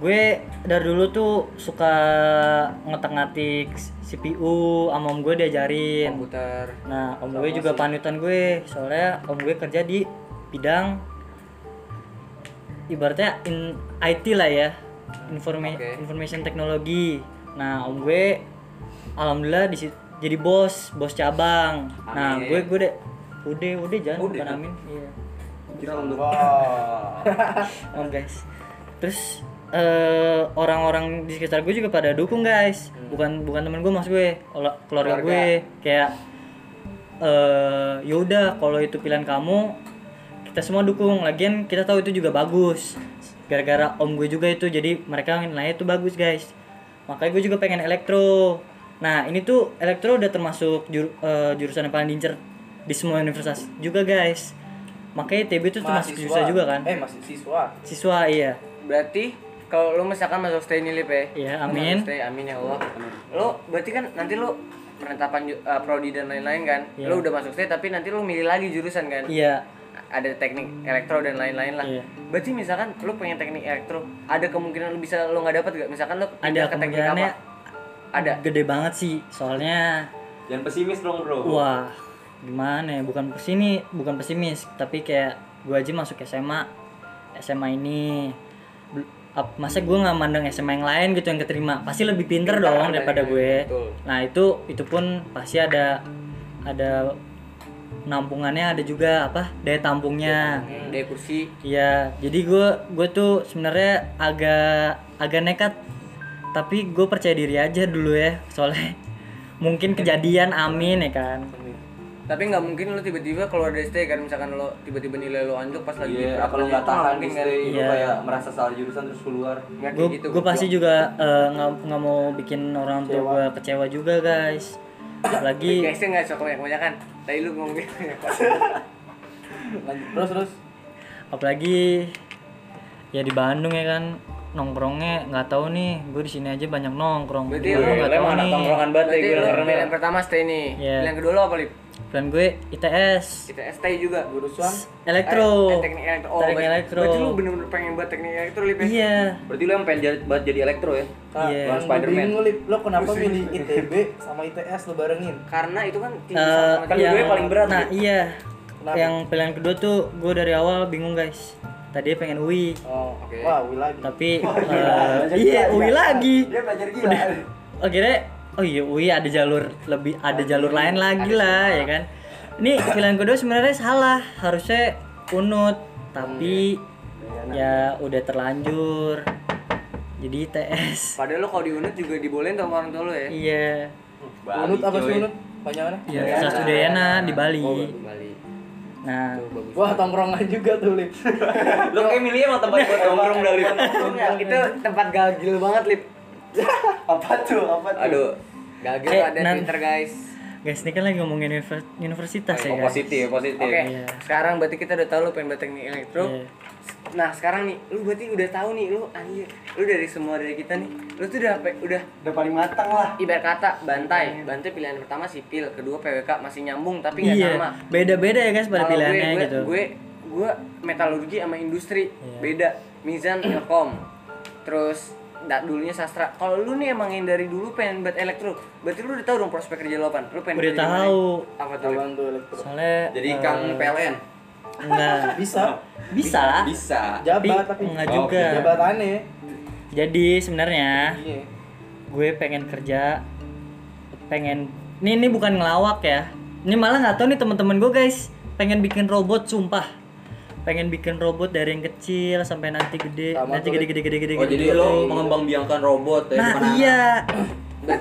gue dari dulu tuh suka ngotak-ngatik CPU, sama om gue diajarin.
Komputer.
Nah, om gue juga panutan gue, soalnya om gue kerja di bidang ibaratnya in IT lah ya, informa-
Oke.
information technology. Nah, om gue alhamdulillah di situ jadi bos, bos cabang. Nah,
Amin.
gue gue deh, udah udah jangan
Udah,
bukan
kan?
amin. Iya.
Wah.
Oh guys. Terus eh, orang-orang di sekitar gue juga pada dukung guys. Bukan bukan temen gue mas gue, ola- keluarga,
Keluarga.
gue kayak eh yaudah kalau itu pilihan kamu kita semua dukung. Lagian kita tahu itu juga bagus. Gara-gara om gue juga itu jadi mereka nilai itu bagus guys. Makanya gue juga pengen elektro. Nah ini tuh elektro udah termasuk jur- eh, jurusan yang paling diincer di semua universitas juga guys. Makanya ITB itu termasuk jurusan juga kan
Eh masih siswa.
siswa iya
Berarti kalau lu misalkan masuk stay nih Lip ya?
Iya,
Lu
amin.
masuk Stay, amin ya Allah. Lu berarti kan nanti lu penetapan ju- uh, prodi dan lain-lain kan?
Iya.
Lu udah masuk stay tapi nanti lu milih lagi jurusan kan?
iya
Ada teknik elektro dan lain-lain lah.
Iya.
Berarti misalkan lu pengen teknik elektro, ada kemungkinan lu bisa lu nggak dapat gak? Misalkan lu pindah
ada kemungkinannya
Ada.
gede banget sih soalnya
Jangan pesimis dong bro.
wah gimana ya bukan pesini bukan pesimis tapi kayak gue aja masuk SMA SMA ini bel- ap- masa gue nggak mandang SMA yang lain gitu yang keterima pasti lebih pinter,
Pintar ada
dong daripada
yang-
gue
betul.
nah itu itu pun pasti ada ada nampungannya ada juga apa daya tampungnya
Dari kursi
Iya, jadi gue gue tuh sebenarnya agak agak nekat, tapi gue percaya diri aja dulu ya, soalnya mungkin kejadian, amin ya kan.
tapi nggak mungkin lu tiba-tiba keluar dari stay kan misalkan lu tiba-tiba nilai lu anjlok pas lagi
Iya,
berapa
apa
banyak,
lu nggak
itu nggak
tahan
mungkin
di
kan?
stay, lu
Iya.
kayak merasa salah jurusan terus keluar.
Nggak kayak
Gue
gitu,
gue pasti juga eh, nggak nggak mau bikin orang tua gue kecewa juga guys, apalagi
Guysnya nggak cocok banyak kan? Tadi lu ngomongin
Lanjut. Terus terus.
apalagi ya di Bandung ya kan nongkrongnya nggak tahu nih, gue di sini aja banyak nongkrong.
Berarti
Gue
lu
nggak tahu
emang anak
nih.
tongkrongan banget ya
Berarti
gue
lu
dengerin.
pilihan pertama stay nih.
Iya.
Pilihan kedua lu apa, Lip?
Plan gue ITS,
Kita stay juga.
Jurusan
elektro.
Eh, eh, teknik elektro. Oh,
Teknik
berarti-
elektro.
Berarti lu bener-bener pengen buat teknik elektro, Lip. ya?
Iya.
Berarti lu yang pengen jadi, banget jadi elektro ya?
Iya.
Bukan
Yang gue
Spiderman.
bingung, Lip, lo kenapa milih ITB sama ITS lo barengin?
Karena itu kan tinggi
Eh,
sama
yang-
dua-duanya paling berat,
gitu.
Nah,
Bro.
iya. Yang pilihan kedua tuh gue dari awal bingung, guys. Tadi pengen UI,
Oh, oke.
Wah, Wi lagi.
tapi eh, iya UI lagi.
belajar gila.
Akhirnya oh iya UI ada jalur lebih ada jalur lain lagi
ada
lah, ya kan. Ini pilihan kedua sebenarnya salah, harusnya Unut, tapi
Iya.
ya udah terlanjur. Jadi ITS.
Padahal lu kalau di UNED juga dibolehin sama orang tua lu ya.
Iya.
Unut apa sih unut? Panjangannya?
Iya, Sastra Dayana
Oh,
di Bali.
Oh, Kembali.
Nah,
Tuh, bagus.
Wah, tongkrongan juga tuh, Lip.
Lu kayak milih emang tempat buat nongkrong dah Lip.
Enggak, itu tempat galgil banget, Lip.
apa tuh? Apa tuh?
Aduh,
Galgil
Eh,
tuh ada
nan-
Twitter, guys.
guys ini kan lagi ngomongin univer- universitas ya,
oh,
guys.
positif, positif.
Oke,
Iya.
sekarang berarti kita udah tahu lu pengen buat teknik elektro.
Iya.
Nah sekarang nih, lu berarti udah tahu nih, lu anjir, lu dari semua dari kita nih, lu tuh udah pe- udah
Udah paling matang lah.
ibarat kata bantai, bantai pilihan pertama sipil, kedua PWK masih nyambung tapi nggak
Iya,
sama.
beda-beda ya guys pada
Kalau
pilihannya
gue, gue,
gitu.
Gue, gue metalurgi sama industri
Iya.
beda, Mizan Ilkom, terus da- dulunya sastra. Kalau lu nih emang yang dari dulu pengen buat elektro, berarti lu udah tahu dong prospek kerja lu apa? Lu pengen
Udah
kerja di mana?
tahu.
Apa tuh? Lip?
Apaan tuh elektro?
soalnya
Jadi
eh,
Kang PLN
enggak
Bisa.
bisa
bisa.
tapi
Jabat tapi
enggak
Oh,
juga
Jabatannya.
jadi sebenarnya
Iya.
gue pengen kerja pengen ini ini bukan ngelawak ya ini malah nggak tahu nih teman-teman gue guys pengen bikin robot sumpah pengen bikin robot dari yang kecil sampai nanti gede
Sama
nanti
tuh,
gede gede gede gede
Oh
gede.
jadi lo mengembangbiangkan robot ya
nah
bukan anak.
iya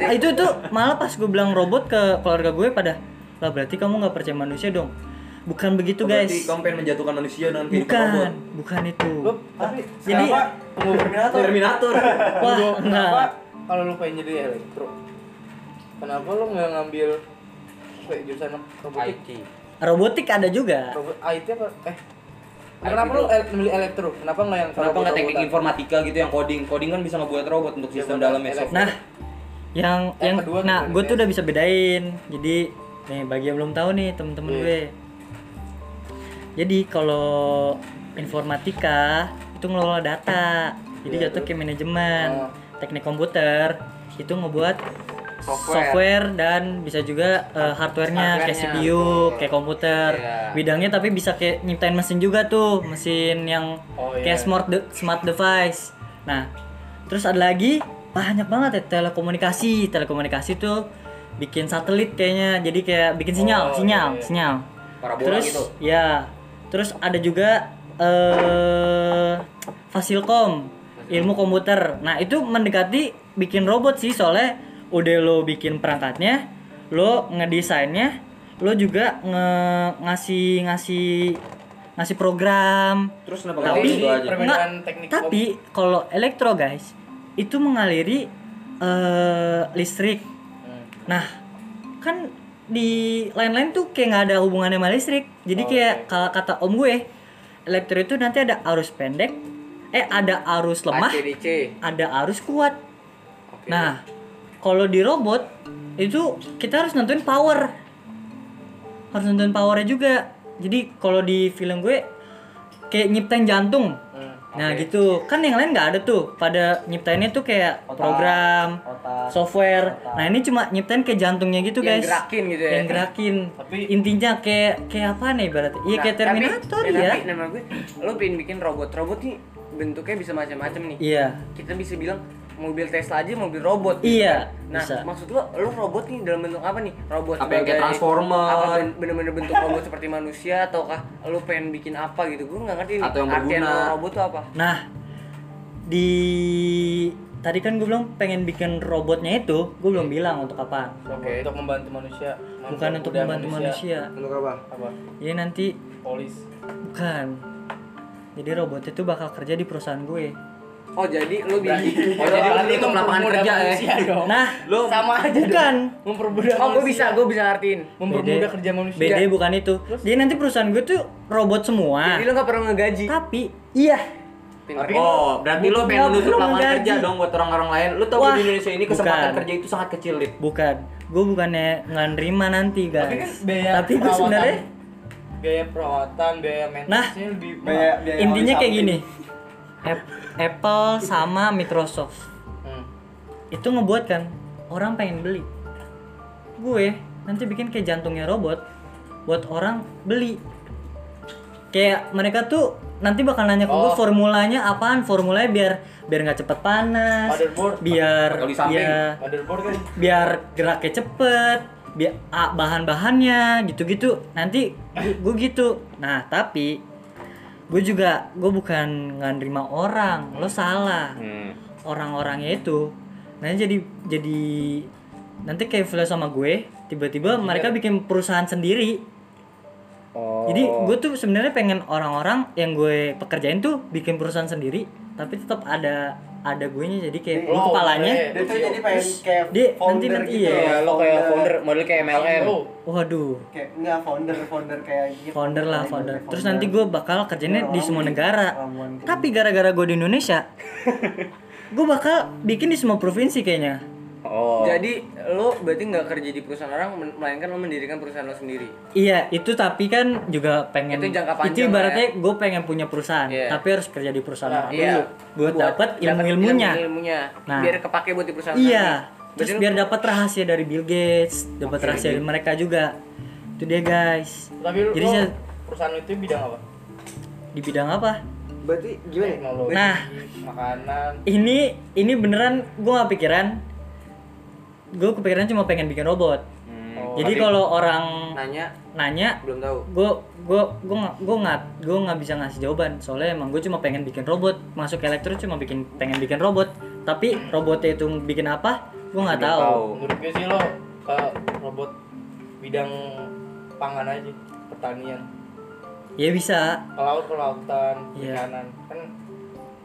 Ah, itu tuh malah pas gue bilang robot ke keluarga gue pada lah berarti kamu nggak percaya manusia dong bukan begitu
Oh,
guys
Berarti kamu pengen menjatuhkan manusia dengan kehidupan robot.
bukan bukan itu
Lu tapi
Jadi-
kenapa tunggu Terminator?
Terminator.
wah nah.
Tunggu, kenapa
enggak
kalau lu pengen jadi elektro? Kenapa lu nggak ngambil kayak jurusan robotik?
IT.
robotik ada juga
Robot IT apa? Eh. Kenapa lu el- milih elektro? Kenapa nggak yang
Kenapa nggak teknik
robot-robotan?
informatika gitu yang coding? Coding kan bisa ngebuat robot untuk sistem
bukan.
dalamnya. software.
Nah, yang
Yang
yang
ya? Eh, kedua ya? tuh
nah
yang
gue tuh
BTS.
udah bisa bedain. Jadi nih bagi yang belum tahu nih temen-temen
Iya.
gue. Jadi kalau informatika itu ngelola data. Jadi
Iya,
jatuh
terus?
ke manajemen,
Oh.
teknik komputer itu ngebuat
Software.
dan bisa juga eh,
gitu.
hardwarenya kayak
Hardwarenya,
CPU, kayak komputer.
Iya.
Bidangnya tapi bisa kayak nyiptain mesin juga tuh, mesin yang
Oh, iya.
kayak smart de- smart device. Nah, terus ada lagi banyak banget ya telekomunikasi. Telekomunikasi tuh bikin satelit kayaknya. Jadi kayak bikin sinyal,
Oh,
sinyal,
iya, iya.
sinyal.
Parabola
terus
gitu.
ya. Terus ada juga eh Fasilkom, ilmu komputer. Nah, itu mendekati bikin robot sih soalnya udah lo bikin perangkatnya, lo ngedesainnya, lo juga nge ngasih ngasih ngasih program,
Terus kenapa
Tapi-
kamu itu aja?
perbedaan
Nggak, gitu Nah,
teknik
tapi kalau elektro guys itu mengaliri eh, listrik nah kan di lain-lain tuh kayak nggak ada hubungannya sama listrik jadi kayak kalau kata om gue elektro itu nanti ada arus pendek eh ada arus lemah
ACDC.
ada arus kuat
Oke.
nah kalau di robot itu kita harus nentuin power harus nentuin powernya juga jadi kalau di film gue kayak nyiptain jantung
Hmm,
nah gitu kan yang lain nggak ada tuh pada nyiptainnya tuh kayak program software nah ini cuma nyiptain kayak jantungnya gitu
Yang
guys
gerakin gitu ya.
yang gerakin
Tapi-
intinya kayak kayak apa nih berarti iya
Nah,
kayak
tapi-
Terminator
eh,
ya
Tapi nama gue, lu pengen bikin robot. Robot nih bentuknya bisa macam-macam nih.
iya
Kita bisa bilang mobil Tesla aja mobil robot. gitu
Iya,
kan. Nah,
bisa.
maksud lu, lu robot nih dalam bentuk apa nih? Robot
Apa yang kayak
sebagai-
Transformer?
Apa ben- bener-bener bentuk robot seperti manusia ataukah lu pengen bikin apa gitu? Gue nggak ngerti nih.
Atau yang
artian
berguna.
robot tuh apa?
Nah, di tadi kan gue bilang pengen bikin robotnya itu, gue belum bilang untuk apa.
Oke. Untuk membantu manusia.
Bukan untuk
Udah
membantu manusia.
Untuk apa?
Apa?
Jadi nanti
Polis.
bukan. Jadi robot itu bakal kerja di perusahaan gue.
Oh, jadi lu bikin
Oh jadi lo tutup lapangan
mempermudah
kerja ya?
manusia dong.
Nah,
Lo
Sama aja dong.
bukan.
Mempermudah
Oh, gue
manusia.
bisa, gue bisa ngertiin.
Mempermudah
Bede-
kerja manusia.
Bede bukan itu. Jadi nanti perusahaan gue tuh robot semua.
Jadi lu nggak perlu ngegaji.
Tapi iya,
Pinter.
Oh, berarti lo
Bukan,
pengen menutup
belum
lapangan
gaji.
kerja dong buat orang-orang lain. Lo tau
Wah,
di Indonesia ini kesempatan
bukan.
kerja itu sangat kecil, Lip.
bukan. Gue bukannya nggak nerima nanti, guys.
kan biaya
Tapi gue
perawatan.
sebenarnya Nah.
biaya perawatan, biaya maintenance-nya lebih
Biaya-
mahal.
biaya
intinya
awalnya
kayak
samping.
gini. App- Apple sama Microsoft
Hmm.
itu ngebuat kan orang pengen beli gue nanti bikin kayak jantungnya robot buat orang beli kayak mereka tuh nanti bakal nanya ke gue
Oh.
formulanya apaan formulanya biar biar nggak cepet panas
Motherboard.
biar iya.
Atau di samping.
biar
Motherboard kan
biar geraknya cepet biar ah, bahan-bahannya gitu-gitu nanti gue gitu nah tapi gue juga gue bukan nggak nerima orang lo salah orang-orangnya itu nanti jadi jadi nanti kayak Vila sama gue tiba-tiba
Iya.
mereka bikin perusahaan sendiri
Oh.
jadi gue tuh sebenarnya pengen orang-orang yang gue pekerjain tuh bikin perusahaan sendiri tapi tetap ada ada gue nya jadi kayak gue
Oh,
kepalanya
boleh.
iya, Dia tuh jadi pengen kayak
dia nanti
founder
nanti
gitu
iya.
Lo kayak founder, model kayak MLM.
Oh,
waduh
Kayak enggak founder, founder kayak gitu.
founder lah founder
Kayak
terus nanti gue bakal
Iya,
kerjanya di semua negara
gitu.
tapi gara-gara gue di Indonesia gue bakal bikin di semua provinsi kayaknya
Oh.
Jadi lo berarti nggak kerja di perusahaan orang men- melainkan lo mendirikan perusahaan lo sendiri.
Iya, itu tapi kan juga pengen
Itu jangka panjang ya.
itu ibaratnya gue pengen punya perusahaan,
Iya.
tapi harus kerja di perusahaan orang
Iya.
dulu buat, dapat
dapet
ilmu-ilmunya.
ilmu-ilmunya.
Nah.
Biar kepake buat di perusahaan
Iya.
orang.
Terus
Berarti
biar dapat rahasia dari Bill Gates, dapat rahasia dari mereka juga. Itu dia, guys.
Tapi lu,
Jadi
lu
saya-
perusahaan lu itu bidang apa?
Di bidang apa?
berarti gimana?
Teknologi,
Nah.
makanan.
Ini ini beneran gue gak pikiran. Gue kepikiran cuma pengen bikin robot.
Hmm.
Oh,
Oh,
Jadi kalau orang
Nanya
nanya
belum tahu.
gue gue gue nggak gue nggak gue nggak bisa ngasih jawaban soalnya emang gue cuma pengen bikin robot masuk elektro cuma bikin pengen bikin robot tapi robotnya itu bikin apa gue nggak tahu
Menurut gue sih lo ke robot bidang pangan aja, pertanian.
ya bisa
Ke laut, ke lautan,
Iya.
perikanan. Kan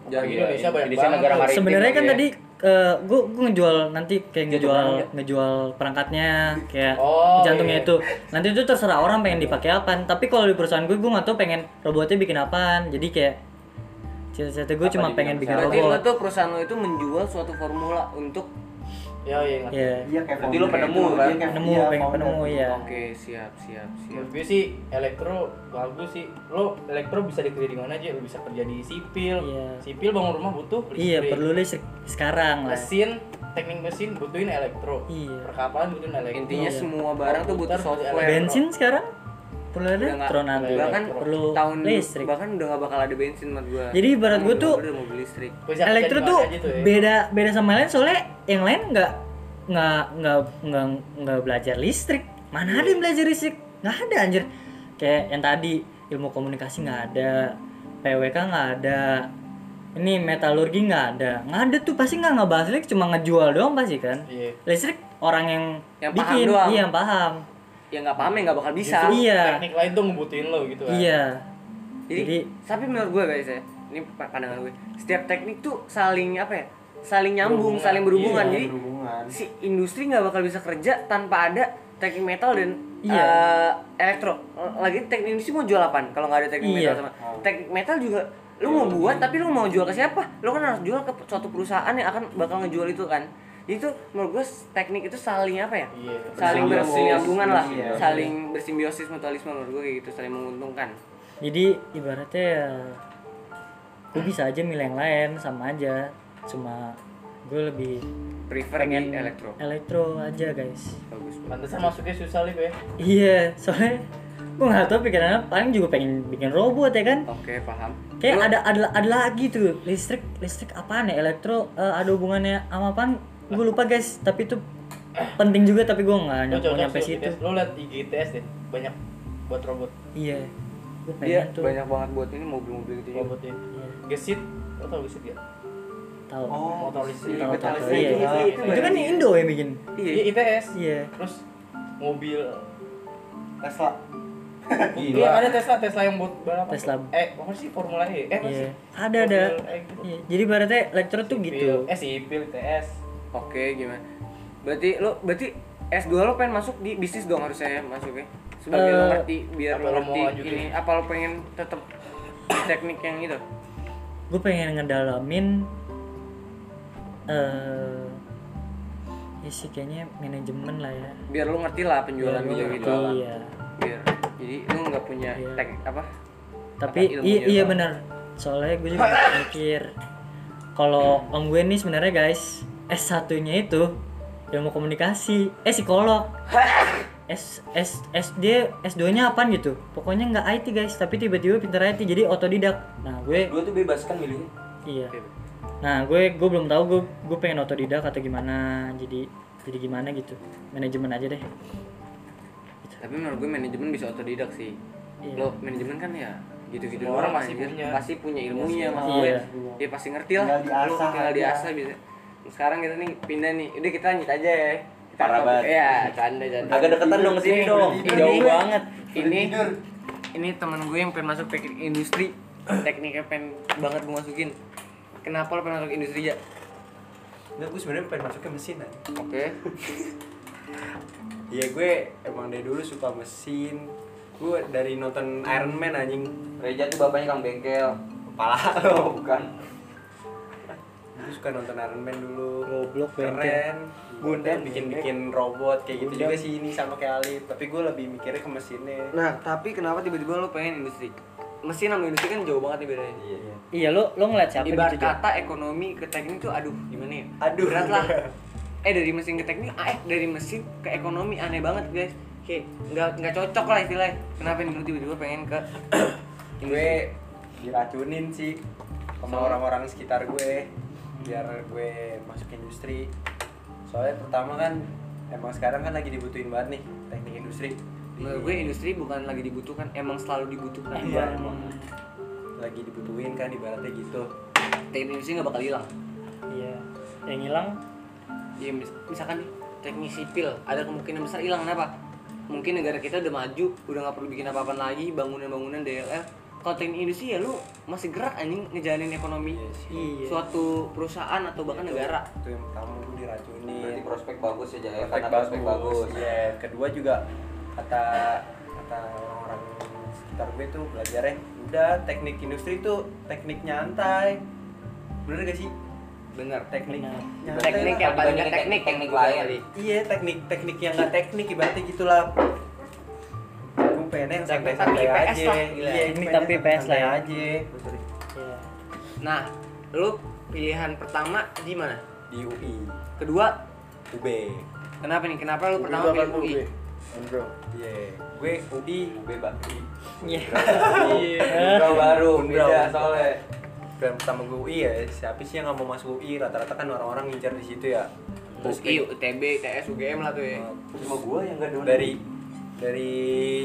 Jangan
apalagi
gila,
Indonesia banyak
Indonesia
banget.
negara
tuh.
maritim
sebenarnya kan
gitu ya.
tadi gue gue ngejual nanti kayak ngejual ngejual perangkatnya kayak
Oh, iya.
jantungnya itu nanti itu terserah orang pengen dipakai apaan tapi kalau di perusahaan gue gue nggak tahu pengen robotnya bikin apaan jadi kayak cita-cita gue cuma pengen bikin
Berarti lo
robot
tuh perusahaan lo itu menjual suatu formula untuk
Ya, iya. ngerti.
ya
Iya kayak
Berarti lu penemu,
gitu.
kan?
penemu pengen penemu ya
Oke, siap, siap, siap.
Menurut gue Ya, sih elektro bagus sih. Lo elektro bisa dikerja di mana aja. Lo bisa kerja di sipil.
Iya.
Sipil bangun rumah butuh
Iya
listrik.
perlu listrik sekarang lah.
Mesin, teknik mesin butuhin elektro.
Iya.
Perkapalan butuhin elektro.
Intinya semua barang tuh butuh
Komputer,
software.
Bensin sekarang perlu elektro
nggak-
nanti
udah
bahkan
perlu
tahun
listrik.
bahkan udah gak bakal ada bensin menurut gua.
Jadi ibarat gua tuh-
udah mau beli listrik.
Bisa kerja
Elektro
di mana
tuh
gitu
aja ya.
beda beda sama lain soalnya yang lain nggak nggak nggak nggak nggak belajar listrik. Mana ada yang belajar listrik? Nggak ada anjir. Kayak yang tadi ilmu komunikasi nggak ada, PWK nggak ada, ini metalurgi nggak ada, nggak ada tuh pasti nggak ngebahas listrik cuma ngejual doang pasti kan.
Iya.
Listrik orang yang,
Yang paham
bikin,
doang.
iya yang paham,
Ya nggak paham ya nggak bakal bisa.
iya,
Teknik lain tuh ngebutuhin lo gitu kan.
iya.
Jadi,
Jadi-
tapi menurut gue guys ya, ini pa- pandangan gue. Setiap teknik tuh saling apa ya? Saling nyambung, saling berhubungan. Jadi si industri nggak bakal bisa kerja tanpa ada teknik metal dan
Iya.
eh, elektro. Lagi teknik industri mau jual apaan kalau nggak ada teknik
Iya.
metal sama? Teknik metal juga lu mau buat tapi lu mau jual ke siapa? Lu kan harus jual ke suatu perusahaan yang akan bakal ngejual itu kan. Jadi tuh menurut gue teknik itu saling apa ya?
Iya.
Saling
Bersimbiosis.
bersinambungan lah,
Iya.
saling bersimbiosis mutualisme menurut gue kayak gitu, saling menguntungkan.
jadi ibaratnya ya gue bisa aja milih yang lain sama aja cuma gue lebih
Prefer
pengen
di elektro.
elektro aja guys
Bagus.
Pantesan masuknya susah lip ya.
iya soalnya gue nggak tahu pikirannya paling juga pengen bikin robot ya kan
Oke, paham.
kayak ada ada ada lagi tuh listrik listrik apaan ya elektro eh, ada hubungannya sama apaan gue lupa guys tapi itu penting juga tapi gue
Lo
nggak nyampe,
cocok
nyampe
sih,
situ
ITS. Lo liat IGTS deh. Banyak buat robot.
iya gue
Dia
pengen tuh
Iya, banyak banget buat ini mobil-mobil gitu juga.
Robotnya.
Iya.
ya. Gesit. Lo tau gesit gak?
tahu
Oh.
Motor listrik.
tahu tahu
Metalist
iya
itu- itu
itu kan
banyak.
Indo yang bikin
Iya ITS.
iya
Terus mobil.
Tesla.
Iya ada Tesla. Tesla yang buat balapan.
Tesla.
Eh apa sih Formula E? Eh apa
Iya,
sih?
ada ada.
Formula E gitu.
Iya, Jadi ibaratnya elektro tuh gitu.
Sipil. Eh sipil ITS.
Oke, gimana? Berarti lo berarti S2 lo pengen masuk di bisnis dong harusnya ya masuknya. Sebagai lo
Eh,
ngerti biar
apa
lo
lo mau
ngerti
lanjutin?
ini apa lo pengen tetap di teknik yang gitu? itu.
Gue Eh, pengen ngedalamin eh ya sih kayaknya manajemen lah ya.
Biar lo ngerti lah penjualan
Biar gua
gitu gitu.
ngerti, Iya.
Biar jadi lo nggak punya
Iya.
teknik apa?
Tapi
Apa,
i-
ilmunya
iya
doang?
benar. Soalnya gue juga mikir kalau om gue nih sebenarnya guys S1-nya itu ilmu komunikasi, eh psikolog. S S S dia S2-nya apaan gitu. Pokoknya nggak IT guys, tapi tiba-tiba pinter IT jadi otodidak. Nah, gue
Gua tuh bebas kan milihnya.
Iya. Nah, gue gue belum tahu gue gue pengen otodidak atau gimana. Jadi jadi gimana gitu. Manajemen aja deh.
Tapi menurut gue manajemen bisa otodidak sih.
Iya.
Lo manajemen kan ya gitu-gitu
Semua orang pasti
anjir.
punya.
pasti punya ilmunya mas
Iya.
gue dia pasti ngerti lah
Tinggal
Lu
diasah
tinggal
aja.
diasah bisa sekarang kita nih pindah nih udah kita lanjut aja ya Kita
Parah
topik-
banget.
iya canda canda
Agak deketan dong ke sini
Eh,
Ini-
dong.
ini-
Jauh banget.
ini ini teman gue yang pengen masuk teknik industri tekniknya pengen banget gue masukin kenapa lo pengen masuk industri ya
Nggak, gue sebenarnya pengen masuk ke mesin aja.
oke
Iya gue emang dari dulu suka mesin. Gue dari nonton Iron Man anjing.
Reja tuh bapaknya Kang Bengkel.
Kepala lo bukan. gue suka nonton Iron Man dulu
Goblok, Benten.
keren Gundam bikin bikin robot kayak gitu juga sih ini sama kayak Iya Ali tapi gue lebih mikirnya ke mesinnya
Nah, tapi kenapa tiba-tiba lo pengen industri? Mesin sama industri kan jauh banget nih bedanya.
iya
Iya lo lo ngeliat siapa
Ibarat
gitu, Jo?
kata ekonomi ke teknik tuh aduh gimana ya?
Aduh.
Berat lah. Eh dari mesin ke teknik, ah, eh dari mesin ke ekonomi aneh banget guys. Kayak nggak nggak cocok lah istilahnya. Kenapa ini lu tiba-tiba pengen ke
gue diracunin sih sama orang-orang sekitar gue biar gue masuk industri soalnya pertama kan emang sekarang kan lagi dibutuhin banget nih teknik industri
Menurut Nah, gue industri bukan lagi dibutuhkan, emang selalu dibutuhkan.
Iya, emang. lagi dibutuhin kan ibaratnya gitu
Teknik industri nggak bakal hilang.
Iya. Yang hilang
Iya, mis- misalkan nih teknik sipil ada kemungkinan besar hilang kenapa? Mungkin negara kita udah maju, udah nggak perlu bikin apa-apa lagi, bangunan-bangunan DLL. Kalau teknik industri ya lu masih gerak anjing ngejalanin ekonomi
Iya.
suatu perusahaan atau bahkan negara.
itu yang pertama gue diracunin
Iya, Berarti prospek bagus ya, Jaya.
prospek
Karena
bagus,
prospek bagus.
Iya. kedua juga kata kata orang-orang sekitar gue tuh belajarnya udah teknik industri tuh teknik nyantai bener gak sih
Bener.
teknik
Bener.
nyantai
Nah, Teknik
lah.
yang paling
Dibandingin
nggak teknik,
teknik
teknik
lain.
lain.
iya teknik teknik yang gak teknik ibaratnya gitulah gue pengennya yang
Teknik
santai-santai
tapi
aja
PS lah, gila.
iya
Teknik
pengennya
tapi PS lah ya.
santai aja
Iya.
Nah, lu pilihan pertama di mana?
di UI
Kedua,
UB
kenapa nih? Kenapa lu pertama pilih UI?
iya gue Iya. UI UB Bakri
Iya.
Bro baru,
Unbrau.
beda soalnya.
dan pertama gue UI ya siapa sih yang nggak mau masuk UI rata-rata kan orang-orang ngincar di situ ya
Terus
Oke.
I, UTB, ITS, UGM lah tuh ya.
Cuma gua yang gak doang.
dari dari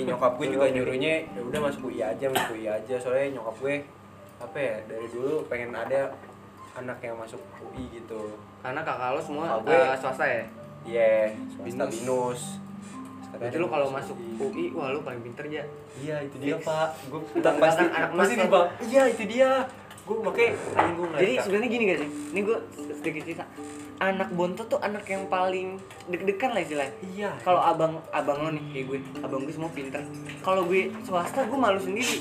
nyokap gue juga nyuruhnya ya udah masuk UI aja masuk UI aja soalnya nyokap gue apa ya dari dulu pengen ada anak yang masuk UI gitu
Karena kakak lo semua
Kakak gue.
eh, swasta ya.
iya swasta
Binus.
binus Sekarang
Berarti lu kalau masuk
UI.
UI, wah lu paling pinter ya.
iya itu dia pak gue
Bukan
pasti
anak
pasti
masuk.
nih bang iya itu dia gue pakai minggu
Jadi sebenarnya gini gak sih? Ini gue sedikit cerita. Anak Bonto tuh anak yang paling deg-degan lah istilahnya.
iya
Kalau abang abang lo nih kayak gue, abang gue semua pinter. Kalau gue swasta gue malu sendiri.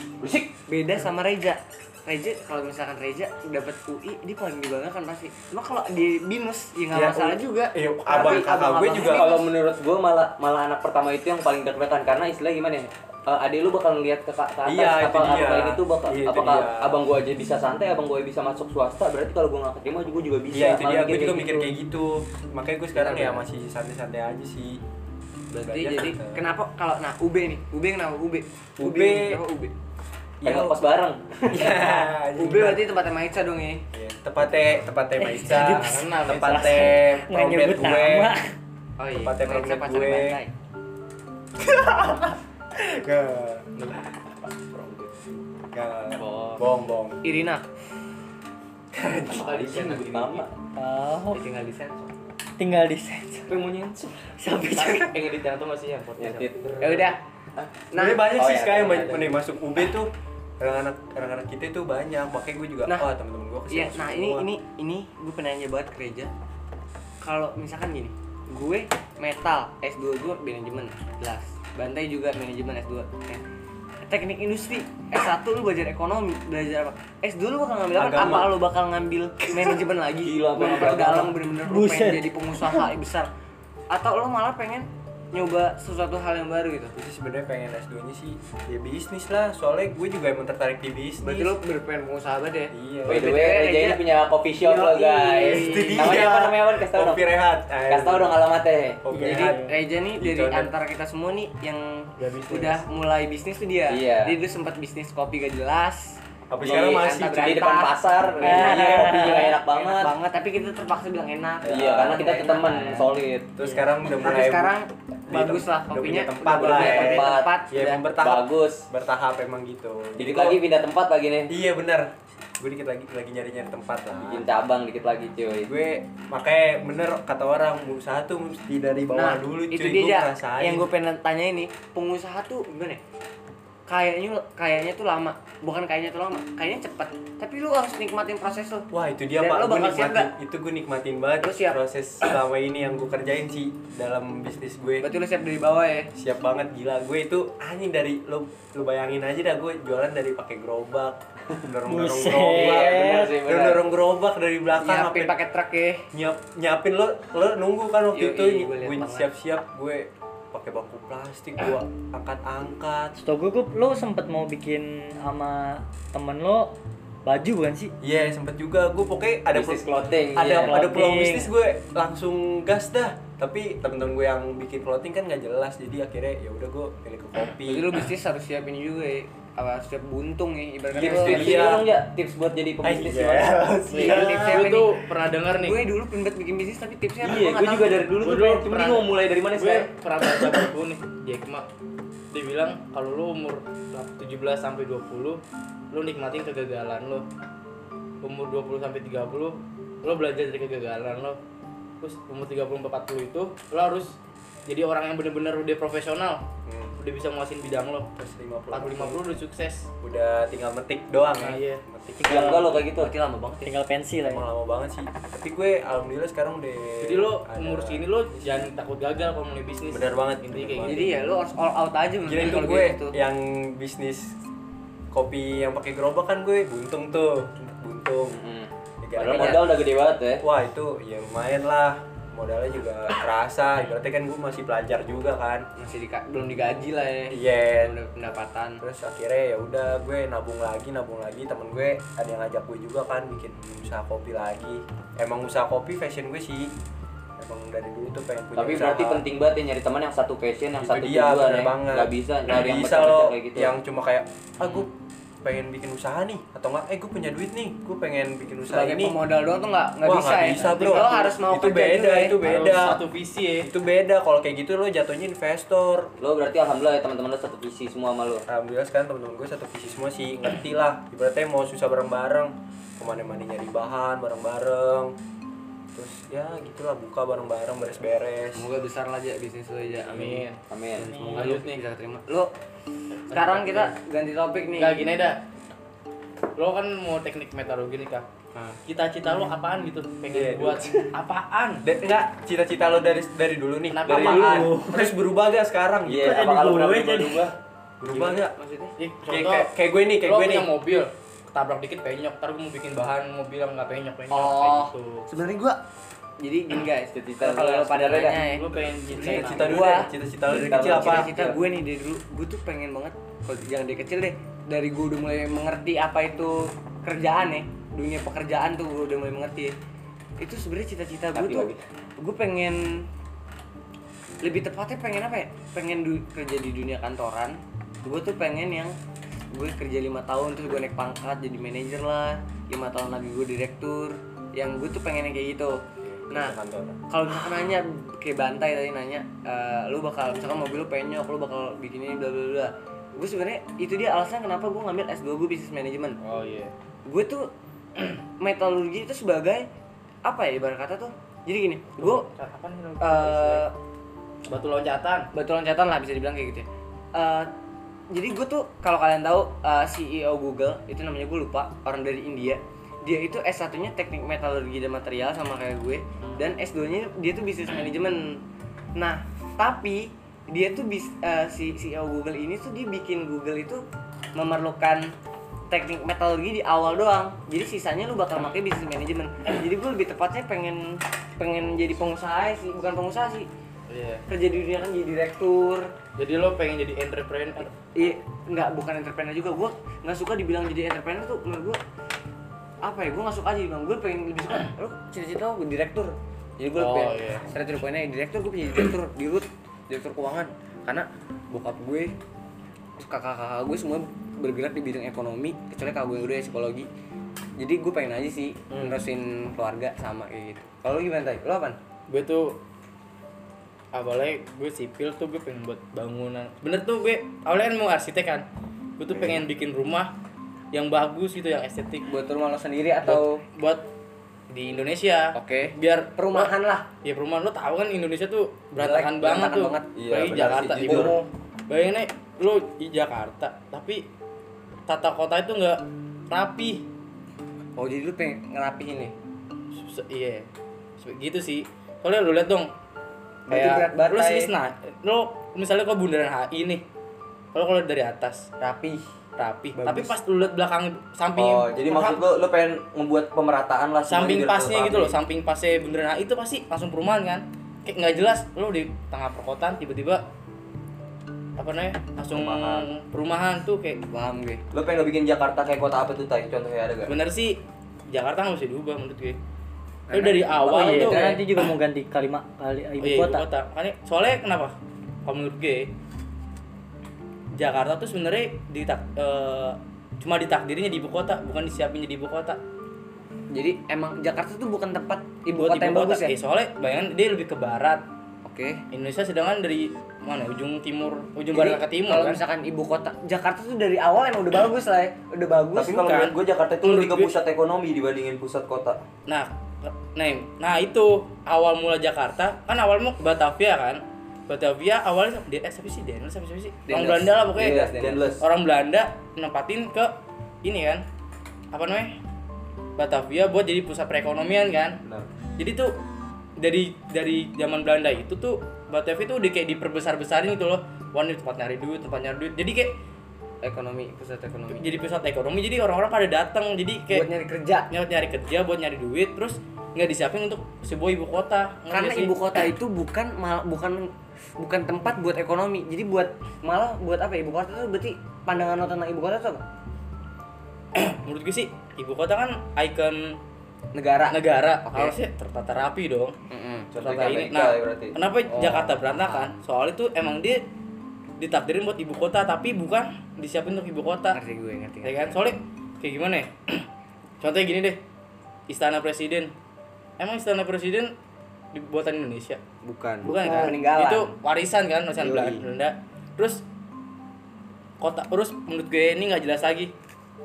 Beda sama Reja. Reja kalau misalkan Reja dapat UI dia paling dibanggakan pasti. Cuma kalau di binus ya nggak
Ya,
masalah
U-
juga.
iya, abang-
Tapi
kakak gue
abang-
juga. iya,
kalau menurut gua malah malah anak pertama itu yang paling deg-degan karena istilah gimana ya? Eh, adik lu bakal ngeliat ke, ke atas
Iya, itu
apa
dia.
apa ini tuh gitu, bakal
Iya, itu
apakah
dia.
abang gua aja bisa santai abang gua bisa masuk swasta berarti kalau gua nggak keterima gua juga bisa
Iya itu
Malah
dia, gue
mikirnya
juga mikir kayak gitu Makanya gue sekarang ya
Benar-benar.
masih santai-santai aja sih
Berarti
Belajar eh,
jadi
santai.
kenapa kalau nah UB nih, UB kenapa UB?
UB.
kenapa UB?
Pengen
Iya.
lepas bareng
Iya
UB berarti tempatnya Maica dong ya.
Iya, Tempatnya, tempatnya Maica
kenal,
Tempatnya
Nggak
promet
nyebut
gue
nama.
Oh iya.
Tempatnya
Maica
promet
pacarnya
gue.
Bantai.
Ke Ke Bong, bong
Irina.
kali sih nyebut nama
Tahu.
Tinggal di sensor.
Oh, Tinggal di sensor.
tapi mau nyensor
Sampai
pengen edit yang tuh masih yang podcast
Ya udah.
Nah, banyak
oh
sih
iya,
sekarang
ada,
banyak
ada.
nih masuk UB tuh anak-anak anak-anak kita tuh banyak makanya gue juga
Nah.
wah temen-temen gue kesini
Iya, nah ini ini ini gue penanya banget ke Reja. Kalau misalkan gini, gue metal S2 gue manajemen jelas. Bantai juga manajemen S2. Ya. Teknik industri S1 lu belajar ekonomi, belajar apa? S2 lu bakal ngambil apa?
Agama.
Apa lu bakal ngambil manajemen lagi?
Gila,
lu
pengen
perdalam bener-bener lu
Buset.
pengen jadi pengusaha besar. Atau lu malah pengen nyoba sesuatu hal yang baru gitu.
Jadi sebenarnya pengen S2 nya sih ya bisnis lah soalnya gue juga emang tertarik di bisnis
Berarti lu berpengen pengusaha banget ya?
Iya.
By the way, Reja ini punya coffee shop
Yoi.
lo Oh, guys.
Itu dia.
Namanya apa namanya Wan? Kasih tau dong.
Kopi Rehat.
Kasih tau dong eh, alamatnya.
Kopi
Jadi
Rehat.
Reja nih
Ya. Di
dari
Jordan.
antara kita semua nih yang
Udah bisnis.
udah mulai bisnis tuh dia.
Iya.
Dia dulu sempat bisnis kopi gak jelas.
Apa
Di-
sekarang masih
Antar
di
cuy.
Berantas.
depan pasar.
Eh,
Iya, kopinya nggak enak
Enak
banget.
banget, tapi kita terpaksa bilang enak.
Iya, karena kita
Enak.
teman solid.
Terus sekarang udah
Tapi
mulai
sekarang
di
bagus
tem-
lah
udah
kopinya.
punya tempat
udah
lah
punya
ya.
tempat,
Ya
udah.
emang bertahap.
Bagus.
Bertahap emang gitu.
Dikit
kalau-
lagi pindah tempat lagi nih.
Iya benar. Gue dikit lagi lagi nyari-nyari tempat lah.
Bikin cabang dikit lagi cuy.
Gue makanya bener kata orang usaha tuh mesti dari bawah
Nah,
dulu cuy.
itu dia
Gua
Ja.
ngerasain.
yang gue pengen tanya ini pengusaha tuh gimana? ya? kayaknya kayaknya tuh lama bukan kayaknya tuh lama kayaknya cepet tapi lu harus nikmatin proses lu
Wah itu dia
Dan
pak,
lo
gue
bakal siap
nikmatin,
nggak?
itu gue nikmatin banget
Lo siap?
proses selama ini yang gue kerjain sih dalam bisnis gue
berarti lu siap dari bawah ya
siap banget gila gue itu anjing dari lo lo bayangin aja dah gue jualan dari pakai gerobak dorong dorong
Buset.
gerobak
Bener sih, bener.
dorong dorong gerobak dari belakang
nyiapin
sampai-
pakai truk ya
nyiap nyiapin lo lo nunggu kan waktu
Yoi,
itu
gue liat
gue
banget.
siap siap gue pakai baku plastik gue angkat angkat
Setau gue, gue lo sempet mau bikin sama temen lo baju bukan sih?
Iya sempet juga gue pokoknya ada
Bisnis
pul-
clothing,
ada
iya.
ada peluang
Clothing.
bisnis gue langsung gas dah tapi temen-temen gue yang bikin clothing kan nggak jelas jadi akhirnya ya udah gue pilih ke kopi
Jadi lu bisnis harus siapin juga ya apa harus siap buntung ya ibaratnya
Tips
lu-
dulu
Tipsnya
Iya.
dong ya, tips buat jadi pembisnis
Iya.
gimana?
Iya, tipsnya apa
gue
nih?
tuh pernah denger nih
gue dulu pengen banget bikin bisnis tapi tipsnya apa?
Iya,
nggak
gue
tahu
juga
tuh.
dari dulu
Gua
tuh
dulu
pengen, cuman
pernah-
gue mau mulai dari mana
gue
sih?
pernah baca buku nih Jack Ma dia bilang kalau lu umur 17 sampai 20 lu nikmatin kegagalan lu umur 20 sampai 30 lu belajar dari kegagalan lu terus umur 30 sampai 40 itu lu harus jadi orang yang bener-bener udah profesional
Hmm.
udah bisa nguasin bidang lo
terus
40 50 udah sukses
udah tinggal metik doang
Nah,
ya
iya.
metik
Tinggal enggak lo kayak gitu.
Berarti lama banget ya
Tinggal pensi lah ya.
Iya,
emang lama banget sih tapi gue alhamdulillah sekarang udah
jadi lo
ada-
umur segini lo jangan takut gagal kalau mulai bisnis
Bener banget,
intinya
bener
kayak
banget.
gitu
jadi ya lu harus all out aja
Gila itu gue yang bisnis kopi yang pakai gerobak kan gue buntung tuh buntung Gara-gara-
Padahal modal udah gede banget ya.
wah itu ya lumayan lah modalnya juga kerasa ibaratnya kan gue masih pelajar juga kan
masih dika- belum digaji lah ya
iya
belum ada pendapatan
terus akhirnya ya udah gue nabung lagi nabung lagi temen gue ada yang ngajak gue juga kan bikin usaha kopi lagi emang usaha kopi fashion gue sih emang dari dulu tuh pengen punya
Tapi
usaha.
berarti penting banget ya nyari teman yang satu passion, yang
Itu
satu
dia,
tujuan
bener
ya.
banget.
Gak bisa
Nggak
nyari yang
bisa
pecah-pecah
loh
kayak gitu.
yang cuma kayak aku pengen bikin usaha nih atau enggak eh gue punya duit nih gue pengen bikin usaha
sebagai
ini
pemodal doang tuh nggak nggak
Wah,
bisa
nggak
ya
bisa,
Tapi
bro.
lo harus mau
Itu
kerja
beda,
juga ya.
itu beda.
gitu, Harus satu visi ya
itu beda kalau kayak gitu lo jatuhnya investor
Lo berarti alhamdulillah ya teman-teman lo satu visi semua sama lo.
alhamdulillah sekarang temen-temen gue satu visi semua sih ngerti lah ibaratnya mau susah bareng-bareng kemana-mana nyari bahan bareng-bareng terus ya gitulah buka bareng-bareng beres-beres
semoga besar lah aja bisnis lo aja amin
amin
Amin.
semoga lu bisa terima lo sekarang kita ganti topik nih
Nggak gini dah. Lo kan mau teknik metalogi nih kak. Cita-cita lo apaan gitu?
Iya,
Pengen buat apaan?
Da- enggak cita-cita lo dari dari dulu nih
Kenapa
dari
apaan?
dulu terus berubah gak sekarang
Iya,
gitu
apa kalau pernah
jadi?
berubah?
berubah gak
Maksudnya? Ya,
kayak
contoh,
kayak- kayak gue nih kayak
lo
gue nih
punya mobil, ketabrak dikit penyok. Ntar gue mau bikin bahan mobil yang nggak penyok penyok kayak
Oh.
gitu.
sebenarnya gua jadi gini guys
Cita-cita
kalau lo
lo
pada
sebenarnya
nanya ya
Lo pengen jadi
cita-cita dulu
Gua.
deh cita-cita lo dari kecil apa
cita-cita gue nih dari dulu gue tuh pengen banget kalau jangan dari kecil deh dari gue udah mulai mengerti apa itu kerjaan ya dunia pekerjaan tuh gue udah mulai mengerti itu sebenarnya cita-cita gue
Tapi
tuh
lagi.
gue pengen lebih tepatnya pengen apa ya pengen du- kerja di dunia kantoran gue tuh pengen yang gue kerja lima tahun terus gue naik pangkat jadi manajer lah lima tahun lagi gue direktur yang gue tuh pengen yang kayak gitu nah
kantor
kalau misalkan nanya kayak bantai tadi nanya eh, lu bakal misalkan mobil lu penyok lu bakal bikin ini bla bla bla gue sebenarnya itu dia alasan kenapa gue ngambil S2 gue bisnis manajemen
Oh iya.
gue tuh metalurgi itu sebagai apa ya ibarat kata tuh jadi gini gue
Apaan sih lo?
eh
Batu loncatan.
batu loncatan lah bisa dibilang kayak gitu ya. Eh, jadi gue tuh kalau kalian tahu eh, CEO Google itu namanya gue lupa orang dari India dia itu S 1 nya teknik metalurgi dan material sama kayak gue dan S 2 nya dia tuh bisnis manajemen nah tapi dia tuh bis, eh, si CEO Google ini tuh dia bikin Google itu memerlukan teknik metalurgi di awal doang jadi sisanya lu bakal pakai bisnis manajemen jadi gue lebih tepatnya pengen pengen jadi pengusaha sih bukan pengusaha sih
Iya.
kerja di dunia kan jadi direktur
Jadi lo pengen jadi entrepreneur.
iya nggak bukan entrepreneur juga gue nggak suka dibilang jadi entrepreneur tuh menurut gue apa ya gue nggak suka aja dibilang gue pengen lebih suka lo cita-cita lo direktur jadi gue
Oh,
pengen
iya.
secara tidak poinnya direktur gue pengen jadi direktur di rut direktur keuangan karena bokap gue terus kakak-kakak gue semua bergerak di bidang ekonomi kecuali kakak gue yang udah ya, psikologi jadi gue pengen aja sih
Hmm.
nerusin keluarga sama kayak gitu kalau lu gimana tay lo apa
gue tuh awalnya gue sipil tuh gue pengen buat bangunan bener tuh gue awalnya kan mau arsitek kan gue
Iya.
tuh pengen bikin rumah yang bagus gitu yang estetik
buat rumah lo sendiri atau
buat di Indonesia
Oke.
biar
perumahan lah
ya perumahan lo tau kan Indonesia tuh berantakan
Jelek,
banget
berantakan Iya,
tuh
banget.
Apalagi Jakarta ibu bayangin nih lu di Jakarta tapi tata kota itu nggak rapi
Oh jadi lu pengen ngerapihin nih?
Se- iya Se- gitu sih soalnya lu lihat dong
Berarti berat banget,
lu
Tai.
sih nah lu misalnya ke bundaran HI nih kalau kalau dari atas
rapi
rapi
Bagus.
tapi pas lu lihat belakang samping
Oh, jadi maksud lu lu pengen ngebuat pemerataan lah semuanya
samping
biar
pasnya
rapi.
gitu loh samping pasnya bundaran HI itu pasti langsung perumahan kan kayak nggak jelas lu di tengah perkotaan tiba-tiba apa namanya langsung
Perumahan.
perumahan tuh kayak
Paham gue.
Lu pengen bikin Jakarta kayak kota apa tuh, Tai? Contohnya ada gak?
sebenarnya sih Jakarta nggak bisa diubah menurut gue lu
Nah,
dari awal gitu.
Oh iya,
tuh
karena
kayak-
nanti juga mau ganti kalimat kali ibu
Oh iya,
kota.
Makanya- soalnya kenapa? Kalau menurut gue Jakarta tuh sebenarnya ditak eh, cuma ditakdirnya di ibu kota, bukan disiapin jadi ibu kota.
Jadi emang Jakarta tuh bukan tempat ibu
Buat
kota yang bagus ya?
Eh, soalnya bayangan dia lebih ke barat.
Oke.
Indonesia sedangkan dari mana? Ujung timur, ujung
Jadi
barat ke timur
kalau
kan. Iya
misalkan ibu kota Jakarta tuh dari awal emang udah bagus lah, ya. udah bagus.
Tapi kalau
bukan.
menurut gue Jakarta itu
kan? Menurut
lebih ke
gue-
pusat ekonomi dibandingin pusat kota.
Nah, ke- nah, nah itu awal mula Jakarta kan awal mau ke Batavia kan. Batavia awalnya di- eh, siapa sih Daniel siapa, siapa sih? Orang
Daniels.
Belanda lah pokoknya.
Iya, Daniels.
Orang Belanda nempatin ke ini kan. Apa namanya? Batavia buat jadi pusat perekonomian kan.
Benar.
Jadi tuh dari dari zaman Belanda itu tuh Batavia tuh udah kayak diperbesar-besarin gitu loh. Wah ini tempat nyari duit, tempat nyari duit. Jadi kayak
Ekonomi, pusat ekonomi.
jadi pusat ekonomi. Jadi orang-orang pada datang. Jadi kayak
Buat nyari kerja.
nyari, nyari kerja buat nyari duit terus nggak disiapin untuk sebuah ibu kota Ngerti
Karena
nggak sih?
ibu kota itu bukan mal- bukan bukan tempat buat ekonomi. Jadi buat malah buat apa? ya? Ibu kota tuh berarti pandangan lo tentang ibu kota tuh apa?
menurut gue sih ibu kota kan ikon
Negara.
negara
Oke.
harusnya tertata rapi dong
Mm-mm.
tertata
Contohnya
ini
Amerika
nah
ya berarti.
kenapa Jakarta berantakan soalnya itu emang dia ditakdirin buat ibu kota tapi bukan disiapin untuk ibu kota
Ngerti gue, ngerti.
ya kan soalnya kayak gimana ya contohnya gini deh istana presiden emang istana presiden dibuatan Indonesia
Bukan.
bukan kan
Peninggalan.
itu warisan kan warisan Belanda Belanda. terus kota terus menurut gue ini nggak jelas lagi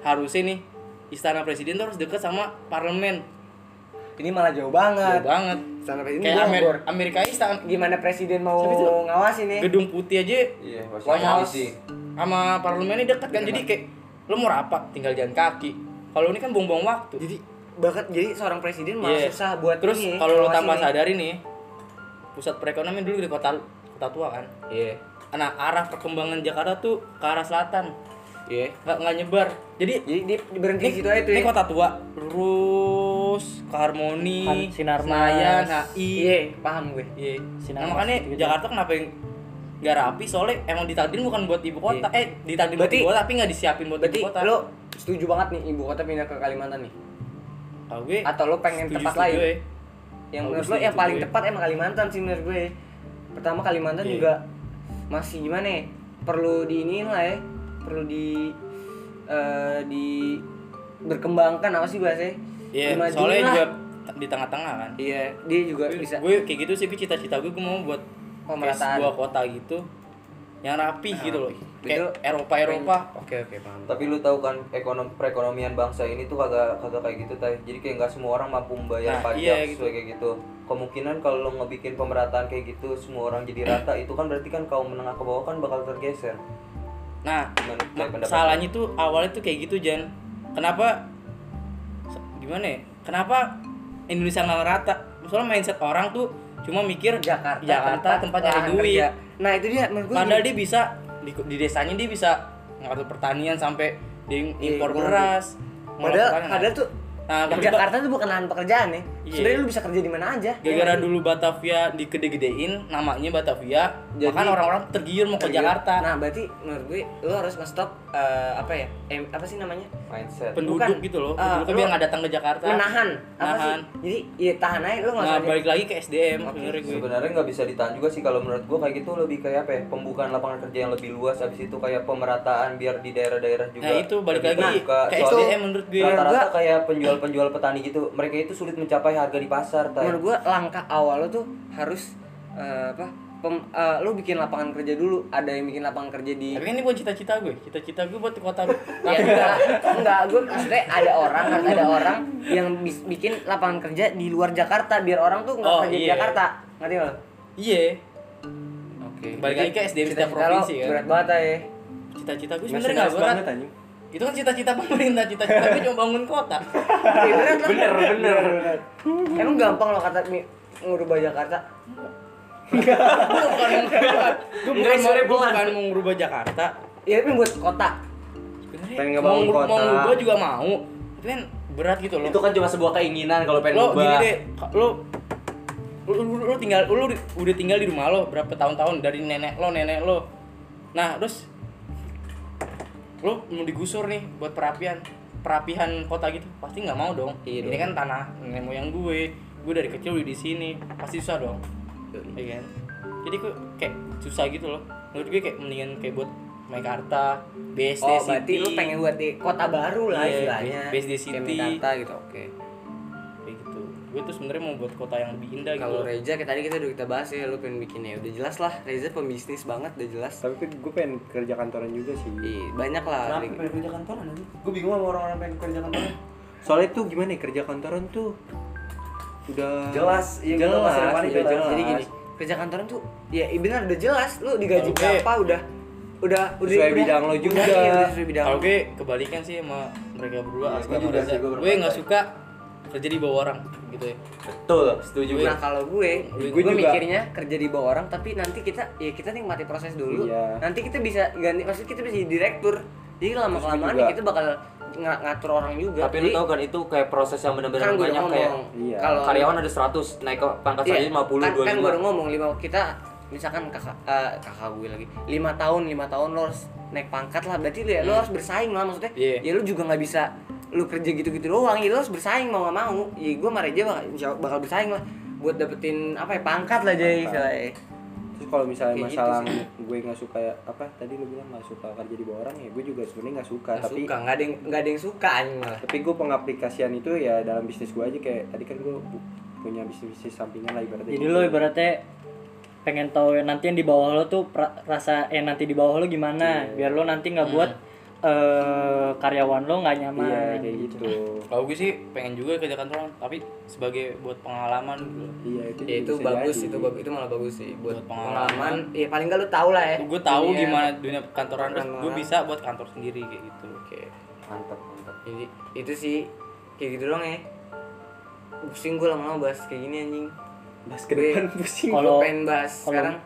harusnya nih istana presiden tuh harus dekat sama parlemen
Ini malah jauh
Jauh
banget.
banget
Istana presiden
kayak
Bogor.
Amer- Amerika istana
Gimana presiden mau
Tapi itu-
ngawasin nih?
gedung putih aja
Iya,
White
Washington
House
DC.
sama parlemennya dekat kan jadi kayak lo mau rapat tinggal jalan kaki kalau ini kan buang-buang waktu
Jadi bahkan jadi seorang presiden malah
Iya.
susah buat
terus
ini,
kalau lo
ngawasin
tambah
nih.
sadari nih pusat perekonomian dulu di kota kota tua kan
Iya.
nah arah perkembangan Jakarta tuh ke arah selatan
Iya.
nggak nggak nyebar jadi
Jadi dia berhenti
ini,
di situ aja tuh. ya.
ini kota tua terus ke harmoni
Han- Sinarmas.
Senayan HI
Iya, paham gue.
Iya. nah
Sinarmas
makanya
gitu-gitu.
Jakarta kenapa yang nggak rapi soalnya emang ditakdirin bukan buat ibu kota eh ditakdirin
Iya.
buat
Berarti-
ibu kota tapi nggak disiapin buat
Berarti
ibu kota
lo setuju banget nih ibu kota pindah ke Kalimantan nih?
Kalau gue eh.
Atau lo pengen tempat lain?
setuju-setuju
Yang
Kalau
menurut
gue
lo
ya. setuju
yang paling
gue.
tepat emang Kalimantan sih menurut gue. Pertama Kalimantan
Iya.
juga masih gimana ya? Perlu diinin lah ya. Perlu di eh, di berkembangkan apa sih bahasanya?
ya iya
Dimajuin
soalnya
lah.
juga t- di tengah-tengah kan
Iya, dia juga bisa
gue kayak gitu sih gue cita-cita gue, gue mau buat kayak
Pemerataan.
sebuah kota gitu yang rapi gitu loh
Betul.
kayak Eropa Eropa
Oke, oke, paham.
Tapi lu tahu kan ekonom perekonomian bangsa ini tuh kagak kagak kayak gitu tai. Jadi kayak nggak semua orang mampu membayar
Nah,
pajak
iya, gitu.
sesuai kayak gitu. Kemungkinan kalau lu ngebikin pemerataan kayak gitu semua orang jadi rata itu kan berarti kan kaum menengah ke bawah kan bakal tergeser.
Nah,
Gimana kayak
ma-
pendapat
salahnya tuh awalnya tuh kayak gitu Jan. Kenapa? se- Gimana ya? Kenapa Indonesia nggak rata? Soalnya mindset orang tuh cuma mikir
Jakarta,
tempat, nyari
lahan
duit.
kerja. Nah, itu dia menurut gue.
Padahal dia bisa di, di desanya dia bisa ngatur pertanian sampai dia impor
kurang
beras.
Iya,
ngolah
Padahal,
pertanian.
padahal tuh
nah,
di
tiba-tiba
Jakarta tuh bukan lahan pekerjaan ya.
Iya.
Sebenarnya lu bisa kerja di mana aja.
gara-gara dulu Batavia digede-gedein namanya Batavia,
Jadi-
bahkan orang-orang tergiur mau ke Jakarta.
Nah, berarti menurut gue lu harus nge-stop eh, apa ya? Em, apa sih namanya?
mindset.
penduduk
bukan.
gitu loh,
Ah,
penduduk
lu
biar nggak datang ke Jakarta.
Menahan. Apa
Menahan.
sih? Jadi, ya tahan aja lu enggak
Nah,
usah.
balik lagi ke SDM sebenarnya gue.
Sebenarnya nggak bisa ditahan juga sih kalau menurut gua kayak gitu lebih kayak apa ya? Pembukaan lapangan kerja yang lebih luas habis itu kayak pemerataan biar di daerah-daerah juga.
Nah, itu balik
lebih
lagi
terbuka.
ke
Soalnya
SDM menurut gue.
Rata-rata kayak penjual-penjual petani gitu, mereka itu sulit mencapai harga di pasar, Tay.
menurut gue langkah awal lo tuh harus eh, apa? Pem, eh, lu bikin lapangan kerja dulu. Ada yang bikin lapangan kerja di
Tapi kan ini bukan cita-cita gue. Cita-cita gue buat kota
Ya,
rapi.
enggak, enggak, gue maksudnya ada orang, harus ada orang yang bis- bikin lapangan kerja di luar Jakarta biar orang tuh nggak
Oh,
kerja di
iya.
Jakarta, ngerti nggak? lo?
Iya. Oke. Balik lagi ke SDM setiap
Cita-cita lo
provinsi kan.
Berat banget ya.
cita-cita gue
Nggak
sebenarnya nggak
serius
berat
banget, anjing.
itu kan cita-cita pemerintah cita-cita gue cuma bangun kota
bener bener
Emang gampang loh kata mi- ngubah Jakarta.
gue bukan gue bukan mau gue bukan mau merubah Jakarta
Ya tapi buat kota.
sebenarnya
Pengen
mau
ngebangun
ngeru- mau
kota.
merubah juga mau tapi kan berat gitu loh
Itu kan cuma sebuah keinginan kalau pengen
lo gini
ngubah.
deh ka- lo lo, lo- lo tinggal lo di- udah tinggal di rumah lo berapa tahun-tahun dari nenek lo nenek lo nah terus lo mau digusur nih buat perapian perapihan kota gitu pasti nggak mau dong
Iya
ini
dong.
kan tanah nenek moyang gue gue dari kecil udah di sini pasti susah dong iya kan jadi gue kayak susah gitu loh menurut gue kayak mendingan kayak buat Mekarta, BSD
Oh,
City.
berarti lu pengen buat di kota baru lah
Iya,
istilahnya.
based di
Kayak
city.
Jakarta gitu, oke.
kayak gitu. Gue tuh sebenarnya mau buat kota yang lebih indah gitu.
Kalau
loh.
Reza kayak tadi kita udah kita bahas ya, lu pengen bikin ya udah jelas lah. Reza pembisnis banget, udah jelas.
Tapi gue pengen kerja kantoran juga sih.
Ih, banyak lah.
Kenapa pengen kerja kantoran anjing? Gue bingung sama orang-orang pengen kerja kantoran. Soalnya tuh gimana ya kerja kantoran tuh udah
Jelas,
iya,
jelas,
jelas, jelas,
jelas. Jadi gini, kerja kantoran tuh ya iya benar udah jelas lu digaji
Oke.
berapa udah udah udah
Sesuai
udah-
bidang lo
udah,
juga.
iya, udah sesuai bidang
Kalau
lo.
gue kebalikan sih sama mereka berdua.
Iya,
Asma
gue
sama
juga
Reza.
sih, gue
Gue nggak
berpendapat.
suka kerja di bawah orang gitu ya.
Betul, setuju gue.
Nah kalau gue,
Gue
gue,
juga.
mikirnya kerja di bawah orang, tapi nanti kita ya kita nikmati proses dulu.
Iya.
Nanti kita bisa ganti, maksud kita bisa jadi direktur. Jadi lama kelamaan
juga.
kita bakal nga- ngatur orang juga.
Tapi
Jadi,
lu tau kan itu kayak proses yang benar-benar
kan gue udah
banyak kayak
ngomong
Iya.
kalau
karyawan ada 100, naik ke pangkat
Iya,
selanjutnya 50,
kan,
25.
kan gue udah ngomong lima kita misalkan kakak eh, kakak gue lagi lima tahun lima tahun lo harus naik pangkat lah berarti lo, ya, lo harus bersaing lah maksudnya
Iya.
ya lo juga nggak bisa lo kerja gitu-gitu doang ya lo harus bersaing mau nggak mau ya gue sama Reja bakal, insya Allah bakal bersaing lah buat dapetin apa ya pangkat lah jadi
Pangkat.
istilahnya
Terus kalau misalnya
Kayak gitu
masalah
sih.
gue nggak suka ya, apa tadi lu bilang nggak suka kerja di bawah orang ya gue juga sebenarnya nggak suka
nggak
tapi
suka nggak ada yang nggak ada yang suka anjing malah
tapi gue pengaplikasian itu ya dalam bisnis gue aja kayak tadi kan gue bu- punya bisnis bisnis sampingan lah ibaratnya
Jadi
gitu.
lo ibaratnya pengen tahu yang nanti yang di bawah lo tuh pra- rasa eh nanti di bawah lo
Iya.
gimana biar lo nanti nggak buat eh, karyawan lo nggak nyaman
iya kayak gitu
Kalau gue sih pengen juga kerja kantoran, tapi sebagai buat pengalaman gitu. loh.
iya itu,
ya itu
bisa
bagus
jadi.
itu bagus itu malah bagus sih buat,
Buat pengalaman.
pengalaman ya paling nggak lo tau lah ya
Eh,
Gue tahu
Iya.
gimana dunia kantoran, terus gue
Kantoran.
bisa buat kantor sendiri kayak gitu.
oke
Mantap, mantap.
Jadi itu sih kayak gitu doang ya. Pusing gue lama-lama bahas kayak gini anjing.
bahas ke depan
Gue-
pusing
Gue
Kalau-
pengen bahas
kalau-
sekarang.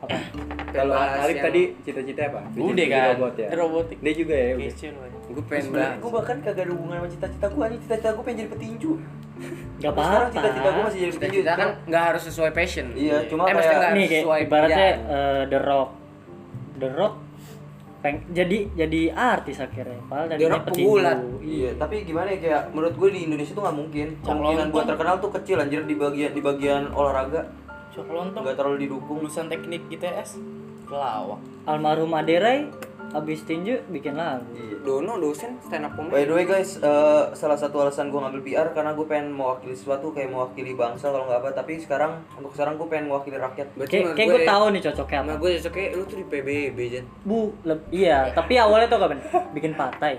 apa
Pengen
kalau
bahas
Alif
yang-
tadi cita-cita apa
Udah
Jadi
kan,
robot ya
Ini robotik.
dia juga ya udah.
Kecil lah.
gue pengen bahas.
Sebenarnya gue bahkan kagak ada hubungan sama cita-cita gue anjing cita-cita gue pengen jadi petinju
nggak
Terus sekarang
apa-apa
cita-cita gue masih jadi petinju
Cita-cita kan nggak harus sesuai passion.
iya cuma
eh maksudnya
kayak
nggak
nih
harus
kayak
sesuai
ibaratnya
kerjaan.
eh, The Rock The Rock peng jadi jadi artis akhirnya padahal
The
tadinya
Rock
petinju.
pegulat.
iya
Iya, tapi gimana ya kayak menurut gue di Indonesia tuh nggak mungkin.
Cak
Kemungkinan
lontong.
buat terkenal tuh kecil anjir di bagian di bagian olahraga
Cok lontong.
nggak terlalu didukung.
Lulusan teknik ITS. Kelawak.
almarhum Aderai abis tinju bikin lagu
Dono dosen stand up comedy.
By the way guys, eh, salah satu alasan gue ngambil PR karena gue pengen mewakili sesuatu kayak mewakili bangsa kalau nggak apa. Tapi sekarang untuk sekarang gue pengen mewakili rakyat.
Berarti
kayak
menurut
kayak gue
ya,
tahu nih cocoknya apa
Sama gue cocoknya lu tuh di PBB Jan.
bu leb- iya tapi awalnya tuh kapan bikin partai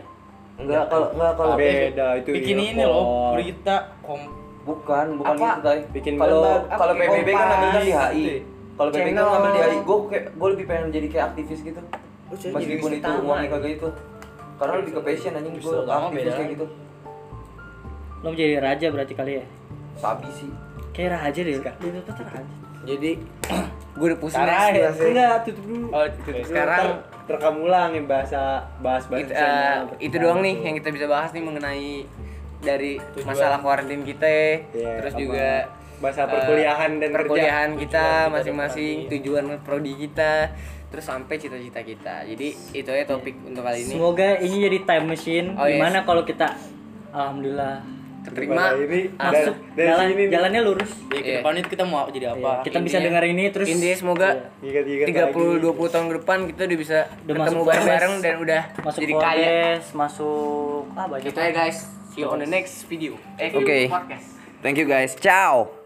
Enggak kalau nggak kalau
beda itu
Bikin
iya,
ini
Pol.
loh, berita kom
bukan bukan
Apa?
gitu tay.
Bikin
kalau
gambar, apa,
kalau
kayak
PBB kan
kompas,
ngambil kan di HI.
gitu ya?
Kalau PBB kan
Channel.
ngambil di HI, gue kayak gue lebih pengen jadi kayak aktivis gitu.
Lu jadi
Meskipun
aktivis
itu
utama,
uangnya
ya.
kagak itu. Karena lebih ke passion anjing gue
utama
aktivis
beda
kayak
lagi.
gitu.
lo menjadi raja berarti kali ya
Sabi sih.
kayak raja deh Dia tetep raja
Jadi gue udah pusing
Sekarang-
banget sih.
enggak tutup dulu
Oh,
Tutup dulu,
sekarang-
ntar terekam ulang yang bahasa bahas bahasa
Itu,
gitu.
eh, itu doang nih yang kita bisa bahas nih mengenai dari masalah kuarantin kita ya.
Iya,
terus
sama
juga
bahasa
eh,
perkuliahan dan kerja.
perkuliahan kita
Tujuan kita
masing-masing
dan
tujuan prodi kita terus sampai cita-cita kita jadi itu ya topik untuk kali ini
semoga ini jadi time machine
Oh, iya.
gimana kalau kita alhamdulillah
keterima
ini
ah,
dan-
masuk
dari
jalan
sini nih.
jalannya lurus
Jadi ke
Iya.
depan itu kita mau jadi
Iya,
apa?
kita bisa
Intinya-
dengar ini terus Iya.
intinya ya. semoga
Gigat-gigat
30
lagi.
20 tahun ke depan kita udah bisa
Udah masuk
ketemu
Forbes.
bareng-bareng dan udah
masuk
jadi kaya
Forbes, masuk ah banyak
gitu ya guys see you on the next video eh
Oke.
podcast
Thank you guys. Ciao.